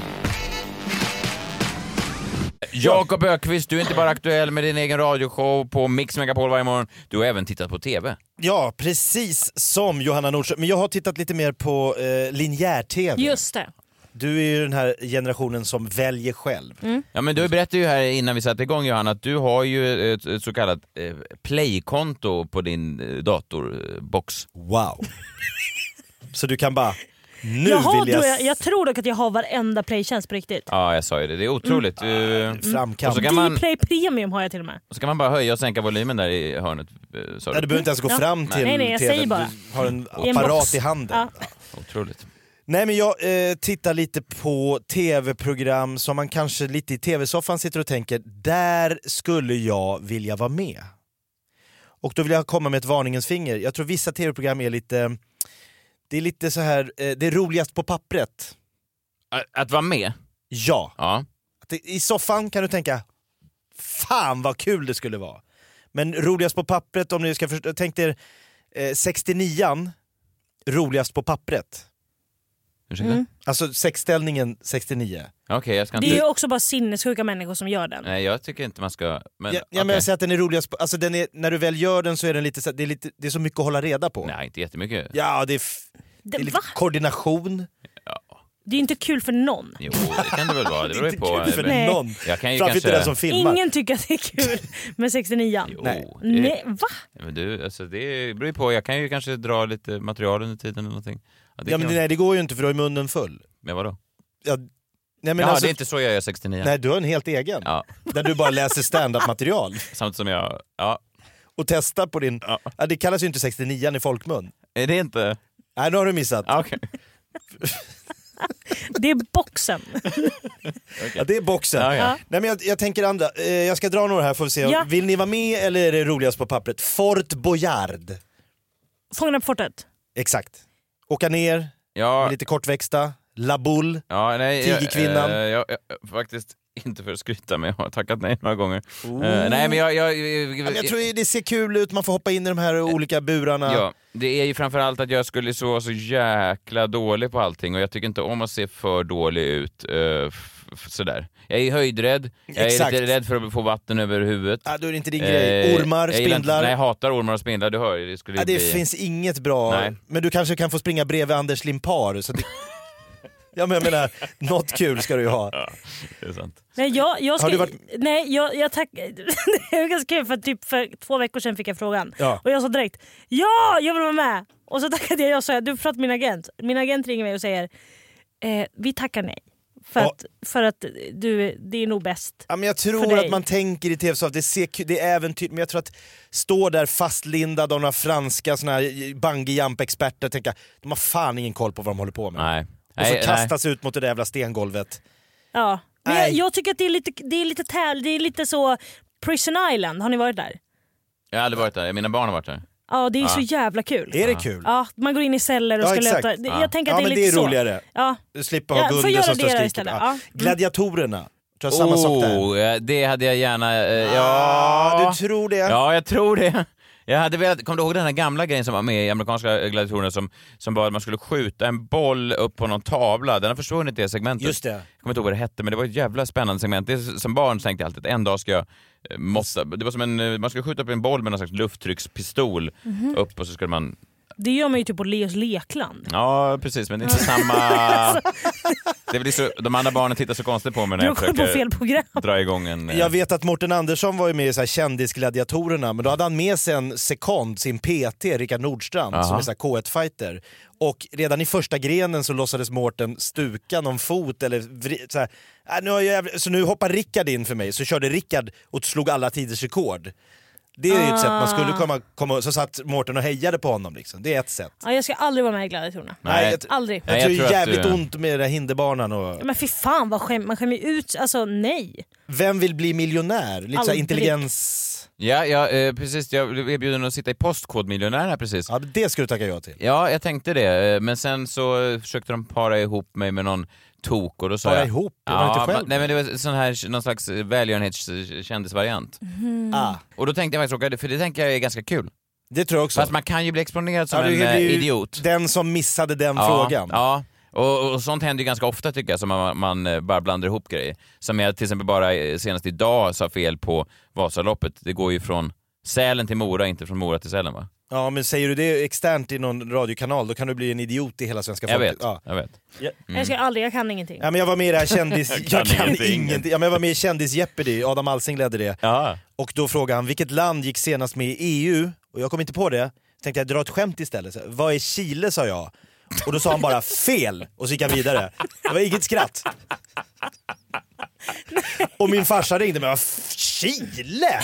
[SPEAKER 6] Jakob Ökvist, du är inte bara aktuell med din egen radioshow på Mix Megapol varje morgon. Du har även tittat på TV.
[SPEAKER 7] Ja, precis som Johanna Nordström. Men jag har tittat lite mer på eh, linjär-tv.
[SPEAKER 8] Just det.
[SPEAKER 7] Du är ju den här generationen som väljer själv.
[SPEAKER 8] Mm.
[SPEAKER 6] Ja, men du berättade ju här innan vi satte igång Johanna att du har ju ett, ett så kallat eh, play-konto på din eh, datorbox.
[SPEAKER 7] Wow. så du kan bara, nu
[SPEAKER 8] Jaha,
[SPEAKER 7] vill jag...
[SPEAKER 8] då jag, jag tror dock att jag har varenda playtjänst på riktigt.
[SPEAKER 6] Ja, jag sa ju det. Det är otroligt. Mm. Och så kan man,
[SPEAKER 8] Dplay Premium har jag till och med.
[SPEAKER 6] och så kan man bara höja och sänka volymen där i hörnet. eh, Sa
[SPEAKER 7] Ja, du behöver inte ens gå
[SPEAKER 8] Ja.
[SPEAKER 7] fram till
[SPEAKER 8] Nej, nej, jag
[SPEAKER 7] TV:n.
[SPEAKER 8] säger bara.
[SPEAKER 7] Du har en
[SPEAKER 8] I en box.
[SPEAKER 7] apparat i handen.
[SPEAKER 8] Ja.
[SPEAKER 6] Otroligt.
[SPEAKER 7] Nej men jag eh, tittar lite på tv-program som man kanske lite i tv-soffan sitter och tänker, där skulle jag vilja vara med. Och då vill jag komma med ett varningens finger. Jag tror vissa tv-program är lite, det är lite så här, eh, det är roligast på pappret.
[SPEAKER 6] Att, vara med?
[SPEAKER 7] Ja.
[SPEAKER 6] ja.
[SPEAKER 7] Att det, I soffan kan du tänka, fan vad kul det skulle vara. Men roligast på pappret, om ni ska förstå, tänk er eh, 69an, roligast på pappret.
[SPEAKER 6] Ursäkta?
[SPEAKER 7] Alltså sexställningen 69.
[SPEAKER 6] Okej, jag ska
[SPEAKER 8] Mm. Det är ju
[SPEAKER 6] inte...
[SPEAKER 8] också bara sinnessjuka människor som gör den.
[SPEAKER 6] Nej, jag tycker inte man ska... Men,
[SPEAKER 7] ja, ja, men
[SPEAKER 6] okej.
[SPEAKER 7] jag säger att den är roligast, på- alltså den är, när du väl gör den så är den lite, så här- det är, lite, det är så mycket att hålla reda på.
[SPEAKER 6] Nej, inte jättemycket.
[SPEAKER 7] Ja, det är, f- det är lite
[SPEAKER 8] va?
[SPEAKER 7] koordination.
[SPEAKER 8] Det är ju inte kul för någon.
[SPEAKER 6] Jo, det kan det väl vara. Det beror ju
[SPEAKER 7] inte
[SPEAKER 6] på.
[SPEAKER 7] kul för
[SPEAKER 6] Nej.
[SPEAKER 7] någon.
[SPEAKER 6] Jag kan ju
[SPEAKER 7] Framför
[SPEAKER 6] kanske...
[SPEAKER 7] inte den som filmar.
[SPEAKER 8] Ingen tycker att det är kul med 69
[SPEAKER 6] Nej.
[SPEAKER 8] Nej, va?
[SPEAKER 6] Men du, alltså det beror ju på. Jag kan ju kanske dra lite material under tiden eller någonting. Ja, det
[SPEAKER 7] ja,
[SPEAKER 6] kan
[SPEAKER 7] men,
[SPEAKER 6] jag-
[SPEAKER 7] nej, det går ju inte för då är munnen full.
[SPEAKER 6] Men vadå?
[SPEAKER 7] Ja, nej, men
[SPEAKER 6] Jaha,
[SPEAKER 7] alltså,
[SPEAKER 6] det är inte så jag gör 69.
[SPEAKER 7] nej, du har en helt egen.
[SPEAKER 6] Ja.
[SPEAKER 7] Där du bara läser stand-up-material
[SPEAKER 6] Samtidigt som jag... Ja.
[SPEAKER 7] och testar på din... Ja. det kallas ju inte 69 i folkmun.
[SPEAKER 6] Är det inte...
[SPEAKER 7] Nej, nu har du missat.
[SPEAKER 6] Ja, Okej.
[SPEAKER 8] Det är boxen.
[SPEAKER 7] Ja, det är boxen.
[SPEAKER 8] Ja, ja.
[SPEAKER 7] Nej, men jag, jag tänker andra. Eh, jag ska dra några här får vi se.
[SPEAKER 8] Ja.
[SPEAKER 7] Vill ni vara med eller är det roligast på pappret? Fort Boyard.
[SPEAKER 8] Fångarna på fortet.
[SPEAKER 7] Exakt. Åka ner,
[SPEAKER 6] Ja.
[SPEAKER 7] med lite kortväxta, La Boule.
[SPEAKER 6] Ja, nej, jag-
[SPEAKER 7] Tigerkvinnan.
[SPEAKER 6] eh, Jag, jag, faktiskt inte för att skryta, men jag har tackat nej några gånger. Eh, nej, men jag... jag, jag,
[SPEAKER 7] Oh.
[SPEAKER 6] Eh,
[SPEAKER 7] Ja, men jag tror det ser kul ut, man får hoppa in i de här olika burarna.
[SPEAKER 6] Ja, det är ju framförallt att jag skulle så vara så jäkla dålig på allting och jag tycker inte om att se för dålig ut. eh, f- f- sådär. Jag är höjdrädd, jag
[SPEAKER 7] Exakt.
[SPEAKER 6] är lite rädd för att få vatten över huvudet.
[SPEAKER 7] Ja, då är det inte din grej.
[SPEAKER 6] Eh,
[SPEAKER 7] Ormar,
[SPEAKER 6] jag gillar inte-
[SPEAKER 7] spindlar.
[SPEAKER 6] Nej, jag hatar ormar och spindlar, du hör ju. Det skulle
[SPEAKER 7] Ja,
[SPEAKER 6] ju
[SPEAKER 7] det
[SPEAKER 6] bli...
[SPEAKER 7] finns inget bra.
[SPEAKER 6] Nej.
[SPEAKER 7] Men du kanske kan få springa bredvid Anders Limpar. Så det... Ja, men jag menar, något kul ska du ju ha.
[SPEAKER 6] det är sant.
[SPEAKER 8] Nej, jag, jag ska,
[SPEAKER 7] Har du varit-
[SPEAKER 8] nej jag, jag tack, det är ganska kul för typ för två veckor sedan fick jag frågan
[SPEAKER 7] Ja.
[SPEAKER 8] och jag sa direkt ja jag vill vara med. Och så tackade jag och sa du får prata med min agent. Min agent ringer mig och säger eh, vi tackar nej. För,
[SPEAKER 7] Ja. Ah.
[SPEAKER 8] att, för att du, det är nog bäst.
[SPEAKER 7] Ja, men jag
[SPEAKER 8] För
[SPEAKER 7] tror
[SPEAKER 8] dig.
[SPEAKER 7] att man tänker i tv-soffan att det, ser kul- det är äventyr, men jag tror att stå där fastlindad av några franska såna här bungee jump experter och tänka de har fan ingen koll på vad de håller på med.
[SPEAKER 6] Nej.
[SPEAKER 7] Och så
[SPEAKER 6] Nej,
[SPEAKER 7] kastas ut mot det där jävla stengolvet.
[SPEAKER 8] Ja. Men jag,
[SPEAKER 7] Nej.
[SPEAKER 8] jag tycker att det är lite, det är lite, täv, det är lite så Prison Island, har ni varit där?
[SPEAKER 6] Jag har aldrig varit där. Mina barn har varit där.
[SPEAKER 8] Ja det är så jävla kul.
[SPEAKER 7] Ah. Är det kul?
[SPEAKER 8] Ja, man går in i celler och
[SPEAKER 7] Ja,
[SPEAKER 8] ska
[SPEAKER 7] exakt.
[SPEAKER 8] löta. det-
[SPEAKER 7] Ja.
[SPEAKER 8] Jag tänker
[SPEAKER 7] Ja,
[SPEAKER 8] att det
[SPEAKER 7] men
[SPEAKER 8] är lite
[SPEAKER 7] det är
[SPEAKER 8] så.
[SPEAKER 7] roligare.
[SPEAKER 8] Ja.
[SPEAKER 7] Du slipper ha
[SPEAKER 8] Ja, får
[SPEAKER 7] Gunde
[SPEAKER 8] göra
[SPEAKER 7] som
[SPEAKER 8] det
[SPEAKER 7] står och
[SPEAKER 8] där
[SPEAKER 7] skriker.
[SPEAKER 8] istället,
[SPEAKER 7] Ja.
[SPEAKER 8] ja. Mm.
[SPEAKER 7] Gladiatorerna, tror jag samma sak där. Ah,
[SPEAKER 6] Oh, eh, det hade jag gärna... eh, Ja,
[SPEAKER 7] du tror det?
[SPEAKER 6] Ja, jag tror det. Jag hade velat, kommer du ihåg den här gamla grejen som var med i amerikanska gladiatorerna som, som var att man skulle skjuta en boll upp på någon tavla? Den har försvunnit det segmentet.
[SPEAKER 7] Just det.
[SPEAKER 6] Jag kommer inte ihåg vad det hette men det var ett jävla spännande segment. Det, är- som barn tänkte jag alltid att en dag ska jag eh, måtta. Det var som en, eh, man skulle skjuta upp en boll med någon slags lufttryckspistol
[SPEAKER 8] Mhm.
[SPEAKER 6] upp och så skulle man...
[SPEAKER 8] Det gör man ju typ på Leos lekland.
[SPEAKER 6] Ja precis men det är inte samma... Det blir så, de andra barnen tittar så konstigt på mig när
[SPEAKER 8] Du har
[SPEAKER 6] jag
[SPEAKER 8] koll på fel
[SPEAKER 6] försöker
[SPEAKER 8] program.
[SPEAKER 6] dra igång en... eh,
[SPEAKER 7] Jag vet att Morten Andersson var ju med i så här kändisgladiatorerna men då hade han med sig en sekond, sin PT, Rickard Nordstrand
[SPEAKER 6] Aha.
[SPEAKER 7] som är så här K1-fighter. Och redan i första grenen så låtsades Morten stuka någon fot eller vri- så här, "Äh, nu har jag, jävla-" Så nu hoppar Rickard in för mig, så körde Rickard och slog alla tiders rekord. Det är ju ett sätt man
[SPEAKER 8] Ah.
[SPEAKER 7] skulle komma, komma så satt Morten och hejade på honom liksom. Det är ett sätt.
[SPEAKER 8] Ja, jag ska aldrig vara med i Gladiatorerna.
[SPEAKER 7] Nej,
[SPEAKER 8] Aldrig.
[SPEAKER 7] Jag, tror det är jävligt
[SPEAKER 6] du-
[SPEAKER 7] ont med den där hinderbanan och...
[SPEAKER 8] Men fy fan vad skäm, man skämmer ju ut Alltså nej.
[SPEAKER 7] Vem vill bli miljonär? Lite så här
[SPEAKER 8] Aldrig.
[SPEAKER 7] intelligens...
[SPEAKER 6] Ja, ja eh, precis. Jag blev erbjuden att sitta i Postkodmiljonären här precis.
[SPEAKER 7] Ja, det skulle du tacka ja till.
[SPEAKER 6] Ja, jag tänkte det. eh, Men sen så eh, försökte de para ihop mig med någon tok och då sa
[SPEAKER 7] Para
[SPEAKER 6] jag...
[SPEAKER 7] ihop? Det var inte själv.
[SPEAKER 6] men- Nej men det var sån här, någon slags välgörenhetskändisvariant.
[SPEAKER 7] Mhm. Ah.
[SPEAKER 6] Och då tänkte jag faktiskt åka dit, för det tänker jag är ganska kul.
[SPEAKER 7] Det tror jag också.
[SPEAKER 6] Fast man kan ju bli exponerad som
[SPEAKER 7] Ja, du
[SPEAKER 6] en eh,
[SPEAKER 7] blir ju
[SPEAKER 6] idiot.
[SPEAKER 7] Den som missade den frågan.
[SPEAKER 6] Ja. Och, och sånt händer ju ganska ofta tycker jag, som man, man eh, bara blandar ihop grejer. Som jag till exempel bara eh, senast idag sa fel på Vasaloppet. Det går ju från Sälen till Mora, inte från Mora till Sälen va?
[SPEAKER 7] Ja, men säger du det externt i någon radiokanal då kan du bli en idiot i hela svenska
[SPEAKER 6] Jag
[SPEAKER 7] folket.
[SPEAKER 6] vet,
[SPEAKER 7] Ja.
[SPEAKER 6] jag vet.
[SPEAKER 8] Jag ska aldrig, jag kan ingenting.
[SPEAKER 7] Mm. Ja, men jag var med i det här kändis...
[SPEAKER 6] Jag kan
[SPEAKER 7] jag kan
[SPEAKER 6] ingenting.
[SPEAKER 7] ingenting. Ja, men jag var med i kändis Jeopardy, Adam Alsing ledde det.
[SPEAKER 6] Ja.
[SPEAKER 7] Och då frågade han vilket land gick senast med i EU? Och jag kom inte på det. Så tänkte jag dra ett skämt istället. Så, här, Vad är Chile sa jag. Och då sa han bara fel och så gick han vidare. Det var inget skratt. Och min farsa ringde mig och bara, Chile?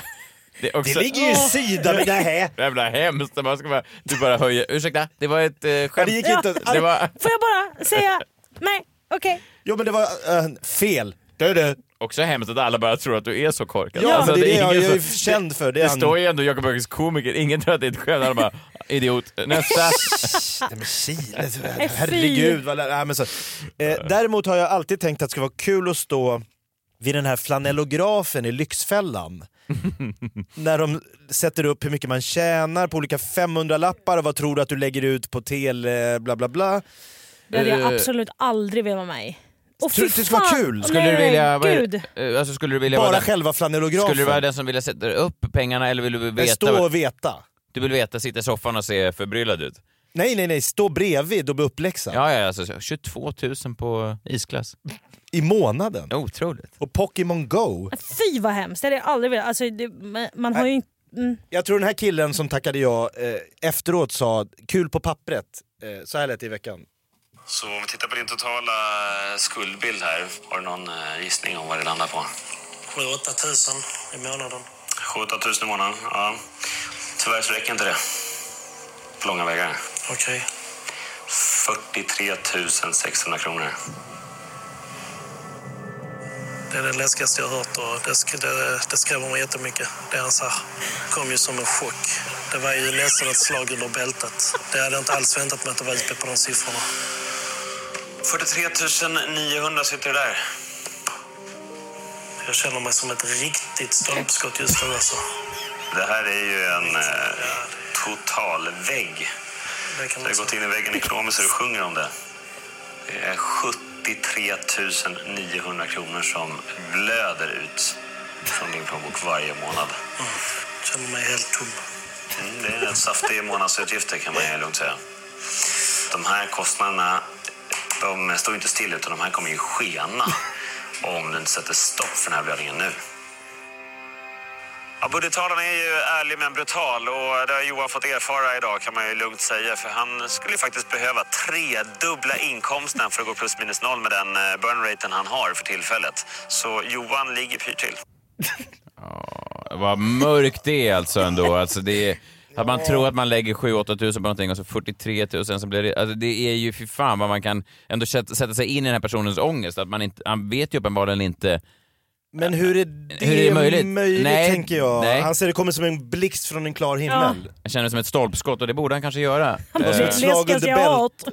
[SPEAKER 6] Det, är också-
[SPEAKER 7] Det ligger ju i sidan med det här.
[SPEAKER 6] Jävla hemskt när man ska bara, du bara höjer. Ursäkta, det var ett eh, skämt.
[SPEAKER 7] det gick inte att-
[SPEAKER 6] det var...
[SPEAKER 8] Får jag bara säga nej, okej.
[SPEAKER 7] Jo men det var eh, fel.
[SPEAKER 6] Alltså,
[SPEAKER 7] Det är det.
[SPEAKER 6] Också hemskt att alla bara tror att du är så korkad.
[SPEAKER 7] Ja, men det är det jag-
[SPEAKER 6] ingen
[SPEAKER 7] jag är
[SPEAKER 6] som-
[SPEAKER 7] känd för. Det
[SPEAKER 6] Det,
[SPEAKER 7] är han-
[SPEAKER 6] står ju ändå Jakob Öqvists komiker, ingen tror att det är ett skämt. Alla bara, idiot. Nästa.
[SPEAKER 7] Nej, men Chile,
[SPEAKER 6] Nej, fy.
[SPEAKER 7] herregud. Vad, lä- nej, men så. Eh, däremot har jag alltid tänkt att det skulle vara kul att stå vid den här flanellografen i Lyxfällan. När de sätter upp hur mycket man tjänar på olika 500-lappar och vad tror du att du lägger ut på tele, bla bla bla.
[SPEAKER 8] Det hade jag
[SPEAKER 7] Eh,
[SPEAKER 8] absolut aldrig velat vara med i. Och
[SPEAKER 7] Tror du
[SPEAKER 8] fy
[SPEAKER 7] det skulle vara
[SPEAKER 8] fan,
[SPEAKER 7] kul?
[SPEAKER 6] Skulle du
[SPEAKER 8] nej,
[SPEAKER 6] vilja, vad är-
[SPEAKER 8] Gud.
[SPEAKER 6] eh, alltså, skulle du vilja
[SPEAKER 7] Bara
[SPEAKER 6] vara den-
[SPEAKER 7] själva flanellografen.
[SPEAKER 6] Skulle du vara den som ville sätta upp pengarna eller vill du
[SPEAKER 7] Men
[SPEAKER 6] veta?
[SPEAKER 7] Stå
[SPEAKER 6] vad-
[SPEAKER 7] och veta.
[SPEAKER 6] Du vill veta, sitta i soffan och se förbryllad ut?
[SPEAKER 7] Nej, nej, nej, stå bredvid och bli uppläxad.
[SPEAKER 6] Ja, ja, alltså 22 000 på isklass.
[SPEAKER 7] I månaden.
[SPEAKER 6] Otroligt.
[SPEAKER 7] Och Pokémon Go.
[SPEAKER 8] Fy vad hemskt, det hade jag aldrig velat. Alltså, det, man- man har ju inte... Mm.
[SPEAKER 7] Jag tror den här killen som tackade jag eh, efteråt sa kul på pappret. Eh, så här lät det i veckan.
[SPEAKER 14] Så om vi tittar på din totala skuldbild här, har du någon eh, gissning om vad det landar på?
[SPEAKER 15] 7-8 tusen i månaden.
[SPEAKER 14] 7 000 i månaden? Ja. Tyvärr så räcker inte det. På långa vägar.
[SPEAKER 15] Okej.
[SPEAKER 14] 43 600 kronor.
[SPEAKER 15] Det är det läskigaste jag hört och det, sk- det, det skrämmer mig jättemycket. Det han sa kom ju som en chock. Det var ju nästan ett slag under bältet. Det hade jag inte alls väntat mig att det var uppe på de siffrorna.
[SPEAKER 14] 43 900 sitter det där.
[SPEAKER 15] Jag känner mig som ett riktigt stolpskott just nu alltså.
[SPEAKER 14] Det här är ju en eh, total vägg.
[SPEAKER 15] Det
[SPEAKER 14] Du har gått in i väggen ekonomiskt så du sjunger om det. Det är 73 900 kronor som blöder ut från din plånbok varje månad.
[SPEAKER 15] Jag känner mig helt tom.
[SPEAKER 14] Mm, det är en saftig månadsutgifter kan man ju lugnt säga. De här kostnaderna De står ju inte still utan de här kommer ju skena om du inte sätter stopp för den här blödningen nu. Ja, budgettalarna är ju ärlig men brutal och det har Johan fått erfara idag kan man ju lugnt säga för han skulle ju faktiskt behöva tredubbla inkomsten för att gå plus minus noll med den eh, burnraten han har för tillfället. Så Johan ligger pyrt till.
[SPEAKER 6] Vad mörkt det är alltså ändå. Alltså det är, att man tror att man lägger 7-8 tusen på någonting och så 43 tusen så blir det... Alltså det är ju fy fan vad man kan ändå sätta sätta sig in i den här personens ångest. Att man inte, han vet ju uppenbarligen inte
[SPEAKER 7] Men hur är det,
[SPEAKER 6] Hur är det möjligt? Nej,
[SPEAKER 7] tänker jag.
[SPEAKER 6] nej.
[SPEAKER 7] Han ser det komma som en blixt från en klar himmel.
[SPEAKER 6] Jag känner det som ett stolpskott och det borde han kanske göra.
[SPEAKER 7] måste
[SPEAKER 6] Eh,
[SPEAKER 7] ju ett slag under bält.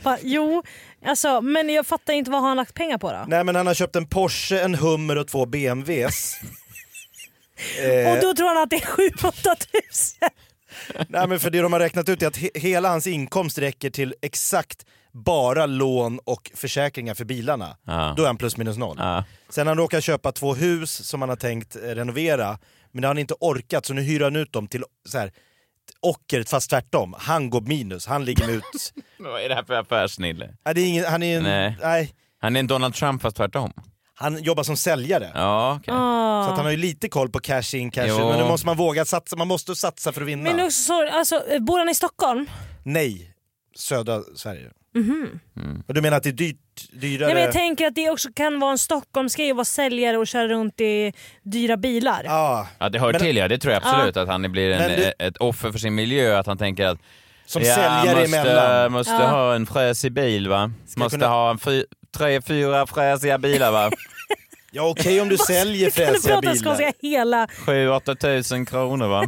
[SPEAKER 8] Bara, jo, alltså, men jag fattar inte vad har han lagt pengar på då?
[SPEAKER 7] Nej men han har köpt en Porsche, en Hummer och två BMWs. Eh,
[SPEAKER 8] Och då tror han att det är 7 8 tusen.
[SPEAKER 7] Nej men för det de har räknat ut är att he hela hans inkomst räcker till exakt bara lån och försäkringar för bilarna.
[SPEAKER 6] Ja.
[SPEAKER 7] Då är han plus minus noll. Sen han råkar köpa två hus som han har tänkt eh, renovera, men det har han inte orkat så nu hyr han ut dem till så här, ockret fast tvärtom. Han går minus, han ligger med ut...
[SPEAKER 6] Eh, Vad är det här för affärsnille?
[SPEAKER 7] Nej, det är ingen, han är en...
[SPEAKER 6] Nej.
[SPEAKER 7] Nej.
[SPEAKER 6] Han är en Donald Trump fast tvärtom.
[SPEAKER 7] Han jobbar som säljare.
[SPEAKER 6] Ja, okej.
[SPEAKER 7] Så att han har ju lite koll på cash in, cash
[SPEAKER 6] Jo.
[SPEAKER 7] ut, men nu måste man våga satsa, man måste satsa för att vinna.
[SPEAKER 8] Men också, så- alltså, bor han i Stockholm?
[SPEAKER 7] Nej, södra Sverige.
[SPEAKER 8] Mhm.
[SPEAKER 6] Mm.
[SPEAKER 7] Och du menar att det är dyrt, dyrare?
[SPEAKER 8] Nej, men jag tänker att det också kan vara en Stockholmsgrej att vara säljare och köra runt i dyra bilar.
[SPEAKER 7] Ja.
[SPEAKER 6] Ja, det hör
[SPEAKER 8] Men-
[SPEAKER 6] till ja, det tror
[SPEAKER 7] Ah.
[SPEAKER 6] jag absolut.
[SPEAKER 8] Ja.
[SPEAKER 6] Att han blir en,
[SPEAKER 8] Men du-
[SPEAKER 6] ett offer för sin miljö, att han tänker att
[SPEAKER 7] Som
[SPEAKER 6] ja,
[SPEAKER 7] säljare
[SPEAKER 6] måste,
[SPEAKER 7] emellan.
[SPEAKER 6] måste
[SPEAKER 7] Ja.
[SPEAKER 6] ha en fräsig bil va? måste
[SPEAKER 7] kunna-
[SPEAKER 6] ha en fy, tre, fyra fräsiga bilar va?
[SPEAKER 7] Ja okej om du säljer
[SPEAKER 8] Kan du
[SPEAKER 7] fräsiga
[SPEAKER 8] prata
[SPEAKER 7] bilar.
[SPEAKER 8] skånska hela...
[SPEAKER 6] Sju, åtta tusen kronor va?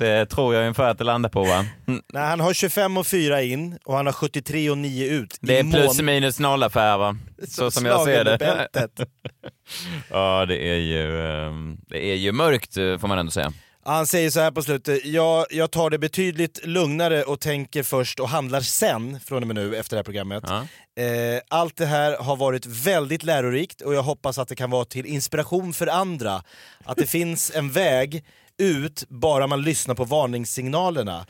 [SPEAKER 6] Det tror jag ungefär att det landar på va? Mm,
[SPEAKER 7] Nej, han har 25 och 4 in och han har 73 och 9 ut.
[SPEAKER 6] Det
[SPEAKER 7] i
[SPEAKER 6] är plus
[SPEAKER 7] mån-
[SPEAKER 6] minus noll affär va? Så som jag
[SPEAKER 7] Slagen
[SPEAKER 6] ser
[SPEAKER 7] i
[SPEAKER 6] det.
[SPEAKER 7] bältet.
[SPEAKER 6] Ja, det är ju, ehm, det är ju mörkt eh, får man ändå säga.
[SPEAKER 7] Han säger så här på slutet, jag, jag tar det betydligt lugnare och tänker först och handlar sen från och med nu efter det här programmet. Eh, allt det här har varit väldigt lärorikt och jag hoppas att det kan vara till inspiration för andra. Att det finns en väg ut bara man lyssnar på varningssignalerna.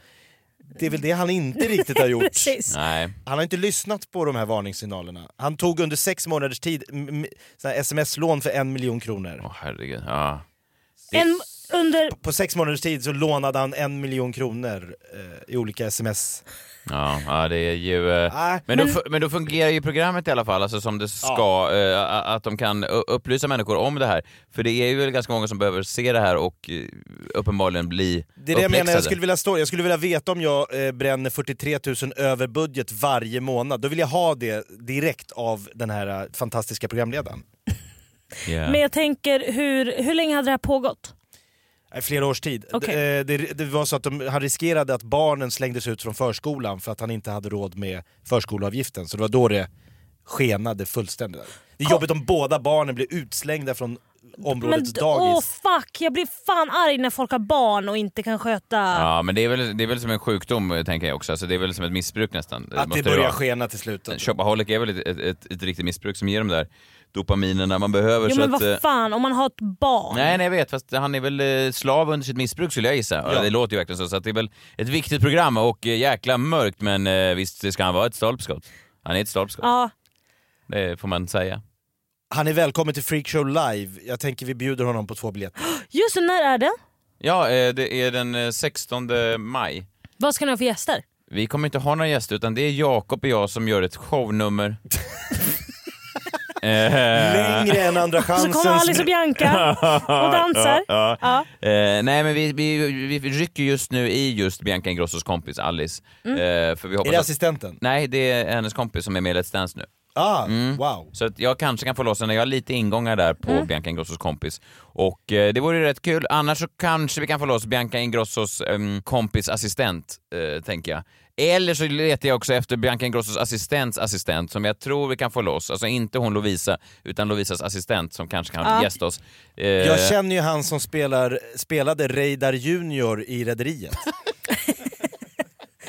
[SPEAKER 7] Det är väl det han inte riktigt har gjort.
[SPEAKER 8] Precis.
[SPEAKER 6] Nej.
[SPEAKER 7] Han har inte lyssnat på de här varningssignalerna. Han tog under sex månaders tid m- m- såna här sms-lån för en miljon kronor.
[SPEAKER 6] Åh herregud, ja.
[SPEAKER 8] En, under...
[SPEAKER 7] På sex månaders tid så lånade han en miljon kronor eh, i olika sms.
[SPEAKER 6] Ja, ja det är ju... eh,
[SPEAKER 7] Nej,
[SPEAKER 6] men, då,
[SPEAKER 7] men-
[SPEAKER 6] fu- men då fungerar ju programmet i alla fall, alltså som det ska, eh, a- att de kan u- upplysa människor om det här. För det är ju väl ganska många som behöver se det här och eh, uppenbarligen bli
[SPEAKER 7] Det är det jag menar,
[SPEAKER 6] uppläxade.
[SPEAKER 7] jag skulle, vilja stå, jag skulle vilja veta om jag eh, bränner 43 000 över budget varje månad. Då vill jag ha det direkt av den här eh, fantastiska programledaren.
[SPEAKER 6] Yeah.
[SPEAKER 8] Men jag tänker, hur, hur länge hade det här pågått?
[SPEAKER 7] Eh, Flera års tid.
[SPEAKER 8] Okej.
[SPEAKER 7] D- eh, Det, det var så att de, han riskerade att barnen slängdes ut från förskolan för att han inte hade råd med förskoleavgiften. Så det var då det skenade fullständigt. Det är jobbigt om båda barnen blir utslängda från områdets
[SPEAKER 8] d-
[SPEAKER 7] dagis.
[SPEAKER 8] Åh fuck, jag blir fan arg när folk har barn och inte kan sköta...
[SPEAKER 6] Ja, men det är, väl, det är väl som en sjukdom eh, tänker jag också, alltså, det är väl som ett missbruk nästan.
[SPEAKER 7] Att
[SPEAKER 6] måste
[SPEAKER 7] det börjar
[SPEAKER 6] vara.
[SPEAKER 7] skena till slut.
[SPEAKER 6] Shopaholic är väl ett, ett, ett, ett riktigt missbruk som ger de där dopaminerna man behöver.
[SPEAKER 8] Jo
[SPEAKER 6] så
[SPEAKER 8] men
[SPEAKER 6] att, eh,
[SPEAKER 8] vad fan, om man har ett barn.
[SPEAKER 6] Nej, nej, jag vet. Fast han är väl eh, slav under sitt missbruk skulle jag gissa.
[SPEAKER 8] Ja.
[SPEAKER 6] Det låter ju verkligen så. Så att det är väl ett viktigt program och eh, jäkla mörkt. Men eh, visst det ska han vara ett stolpskott. Han är ett stolpskott.
[SPEAKER 8] Ja.
[SPEAKER 6] Det får man säga.
[SPEAKER 7] Han är välkommen till Freakshow live. Jag tänker vi bjuder honom på två biljetter.
[SPEAKER 8] Just det, när är det?
[SPEAKER 6] Ja, eh, det är den eh, 16 maj.
[SPEAKER 8] Vad ska ni ha för gäster?
[SPEAKER 6] Vi kommer inte ha några gäster utan det är Jakob och jag som gör ett shownummer. Eh,
[SPEAKER 7] Längre än Andra
[SPEAKER 8] Så
[SPEAKER 7] chansen.
[SPEAKER 8] kommer Alice och Bianca och dansar.
[SPEAKER 6] Ja, ja.
[SPEAKER 8] Ja.
[SPEAKER 6] Eh, nej men vi, vi, vi rycker just nu i just Bianca Ingrossos kompis Alice.
[SPEAKER 7] Mm.
[SPEAKER 6] Eh, för vi hoppas
[SPEAKER 7] Är det
[SPEAKER 6] att-
[SPEAKER 7] assistenten?
[SPEAKER 6] Nej, det är hennes kompis som är med i Let's Dance nu.
[SPEAKER 7] Ah, wow.
[SPEAKER 6] Så att jag kanske kan få loss henne. Jag har lite ingångar där på Bianca Ingrossos kompis. Och eh, det vore ju rätt kul. Annars så kanske vi kan få loss Bianca Ingrossos um, kompis assistent, eh, tänker jag. Eller så letar jag också efter Bianca Ingrossos assistents assistent som jag tror vi kan få loss. Alltså inte hon Lovisa, utan Lovisas assistent som kanske kan
[SPEAKER 7] Ja.
[SPEAKER 6] gästa oss. Eh,
[SPEAKER 7] Jag känner ju han som spelar, spelade Reidar Junior i Rederiet.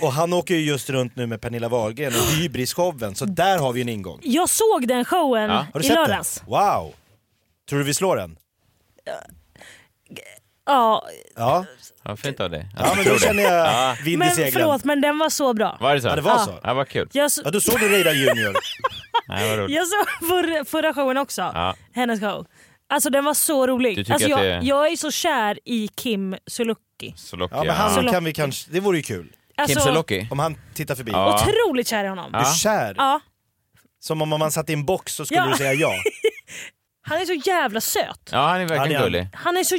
[SPEAKER 7] och han åker ju just runt nu med Pernilla Wahlgren och Hybris-showen, så där har vi en ingång.
[SPEAKER 8] Jag såg den showen
[SPEAKER 7] Har du
[SPEAKER 8] i
[SPEAKER 7] sett
[SPEAKER 8] lördags.
[SPEAKER 7] den? Wow! Tror du vi slår den?
[SPEAKER 8] Ja,
[SPEAKER 7] Ja.
[SPEAKER 6] Ja, fint av dig.
[SPEAKER 7] Ja, men då känner jag vind i
[SPEAKER 8] Eh, men
[SPEAKER 7] seglen.
[SPEAKER 8] förlåt men den var så bra.
[SPEAKER 6] Var det så?
[SPEAKER 7] Ja, det var så.
[SPEAKER 6] Ja, vad kul.
[SPEAKER 8] Jag så- Ja, då såg du Reidar
[SPEAKER 7] Junior.
[SPEAKER 6] Nej, vad roligt.
[SPEAKER 8] Jag såg förra, förra showen också,
[SPEAKER 6] Ja.
[SPEAKER 8] hennes show. Alltså den var så
[SPEAKER 6] Du
[SPEAKER 8] rolig.
[SPEAKER 6] tycker
[SPEAKER 8] Alltså,
[SPEAKER 6] att
[SPEAKER 8] jag,
[SPEAKER 6] det är-
[SPEAKER 8] jag är så kär i Kim Sulocki.
[SPEAKER 6] Sulocki,
[SPEAKER 7] Ja, men han
[SPEAKER 8] Sulocki.
[SPEAKER 7] kan vi kanske... Det vore ju kul.
[SPEAKER 8] Alltså- Sulocki?
[SPEAKER 7] Om han tittar förbi.
[SPEAKER 8] Otroligt kär i honom.
[SPEAKER 7] Du är kär?
[SPEAKER 8] Ja.
[SPEAKER 7] Som om man satt i en box så skulle
[SPEAKER 8] Ja.
[SPEAKER 7] du säga ja.
[SPEAKER 8] Han är så jävla söt.
[SPEAKER 6] Ja, han är
[SPEAKER 7] verkligen
[SPEAKER 6] verkligen gullig.
[SPEAKER 8] Han är så...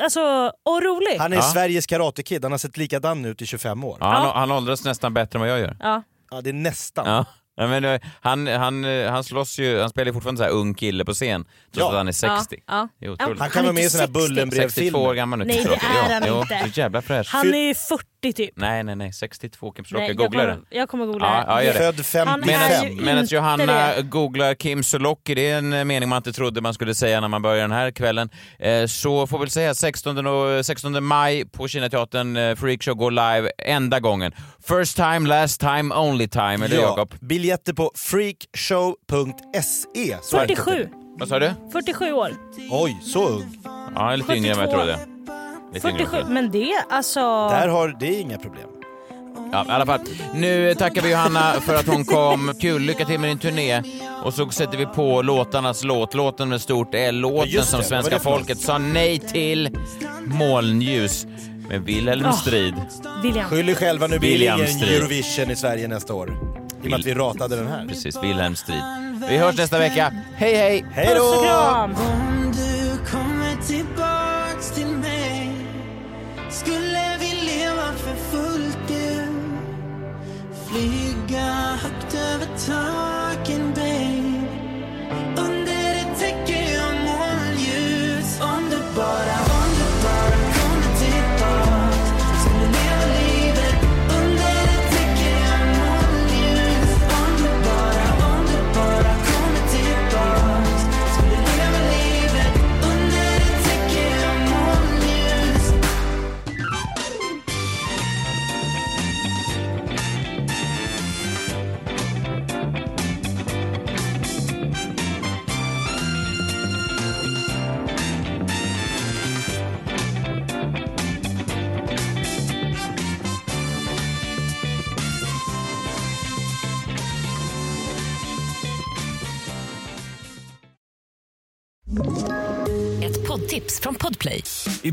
[SPEAKER 8] Alltså, och rolig.
[SPEAKER 7] Han är
[SPEAKER 6] Ja.
[SPEAKER 7] Sveriges karatekid, han har sett likadan ut i 25 år.
[SPEAKER 6] Ja, han, han åldras nästan bättre än vad jag gör.
[SPEAKER 8] Ja.
[SPEAKER 7] Ja, det är nästan.
[SPEAKER 6] Ja. Nej, men, eh, han, han, eh, han slåss ju, han spelar ju fortfarande så här ung kille på scen trots att han är 60.
[SPEAKER 8] Ja,
[SPEAKER 6] Det är
[SPEAKER 8] ja.
[SPEAKER 6] otroligt.
[SPEAKER 7] Han kan Han är vara med i inte såna här 60. Bullenbrevfilmer.
[SPEAKER 6] 62 år gammal nu.
[SPEAKER 8] Nej, det
[SPEAKER 6] Kipslocker.
[SPEAKER 8] är
[SPEAKER 6] Ja,
[SPEAKER 8] han
[SPEAKER 6] jo,
[SPEAKER 8] inte.
[SPEAKER 6] Så jävla fräsch.
[SPEAKER 8] Han är ju 40 typ.
[SPEAKER 6] Nej, nej, nej. 62 Kim
[SPEAKER 8] Nej,
[SPEAKER 6] Sulocki.
[SPEAKER 8] jag
[SPEAKER 6] Googla
[SPEAKER 8] kommer-
[SPEAKER 6] det.
[SPEAKER 8] jag kommer googla det.
[SPEAKER 6] ja, gör det.
[SPEAKER 7] Född 55.
[SPEAKER 6] Medan, medan
[SPEAKER 8] inte
[SPEAKER 6] Johanna
[SPEAKER 8] det.
[SPEAKER 6] googlar Kim Sulocki, det är en eh, mening man inte trodde man skulle säga när man börjar den här kvällen, eh, så får väl säga 16, och- 16 maj på Kinateatern, eh, Freakshow går live enda gången. First time, last time, only time. Eller
[SPEAKER 7] Ja.
[SPEAKER 6] Jakob?
[SPEAKER 7] Biljetter på freakshow.se. Så är det.
[SPEAKER 8] 47.
[SPEAKER 6] Vad sa du?
[SPEAKER 8] 47 år.
[SPEAKER 7] Oj, så ung.
[SPEAKER 6] Ja, lite yngre än vad jag trodde. Lite yngre än vad jag
[SPEAKER 8] 47,
[SPEAKER 6] trodde.
[SPEAKER 8] men det alltså...
[SPEAKER 7] Där har, det är inga problem.
[SPEAKER 6] Ja, i alla fall. Nu tackar vi Johanna för att hon kom. Kul, lycka till med din turné. Och så sätter vi på låtarnas låt, låten med stort L, låten
[SPEAKER 7] just det,
[SPEAKER 6] som
[SPEAKER 7] vad var
[SPEAKER 6] svenska
[SPEAKER 7] det för
[SPEAKER 6] folket sa nej till. Molnljus med Wilhelm
[SPEAKER 7] Ah.
[SPEAKER 6] Strid.
[SPEAKER 8] William.
[SPEAKER 7] Skyll er själva, nu blir det
[SPEAKER 6] William
[SPEAKER 7] ingen
[SPEAKER 6] Strid.
[SPEAKER 7] Eurovision i Sverige nästa år. I och med att vi ratade den här.
[SPEAKER 6] Precis, Wilhelm Strid. Vi hörs nästa vecka. Hej, hej!
[SPEAKER 7] Hej då! Puss och kram!
[SPEAKER 16] Om du kommer tillbaks till mig skulle vi leva för fullt ut Flyga högt över taken, babe Under ett täcke av månljus Om du bara, om du bara kommer tillbaks skulle leva livet under ett täcke av månljus Om du bara, om du bara kommer tillbaks skulle leva livet under ett täcke av månljus
[SPEAKER 4] Ett poddtips från Podplay.
[SPEAKER 17] I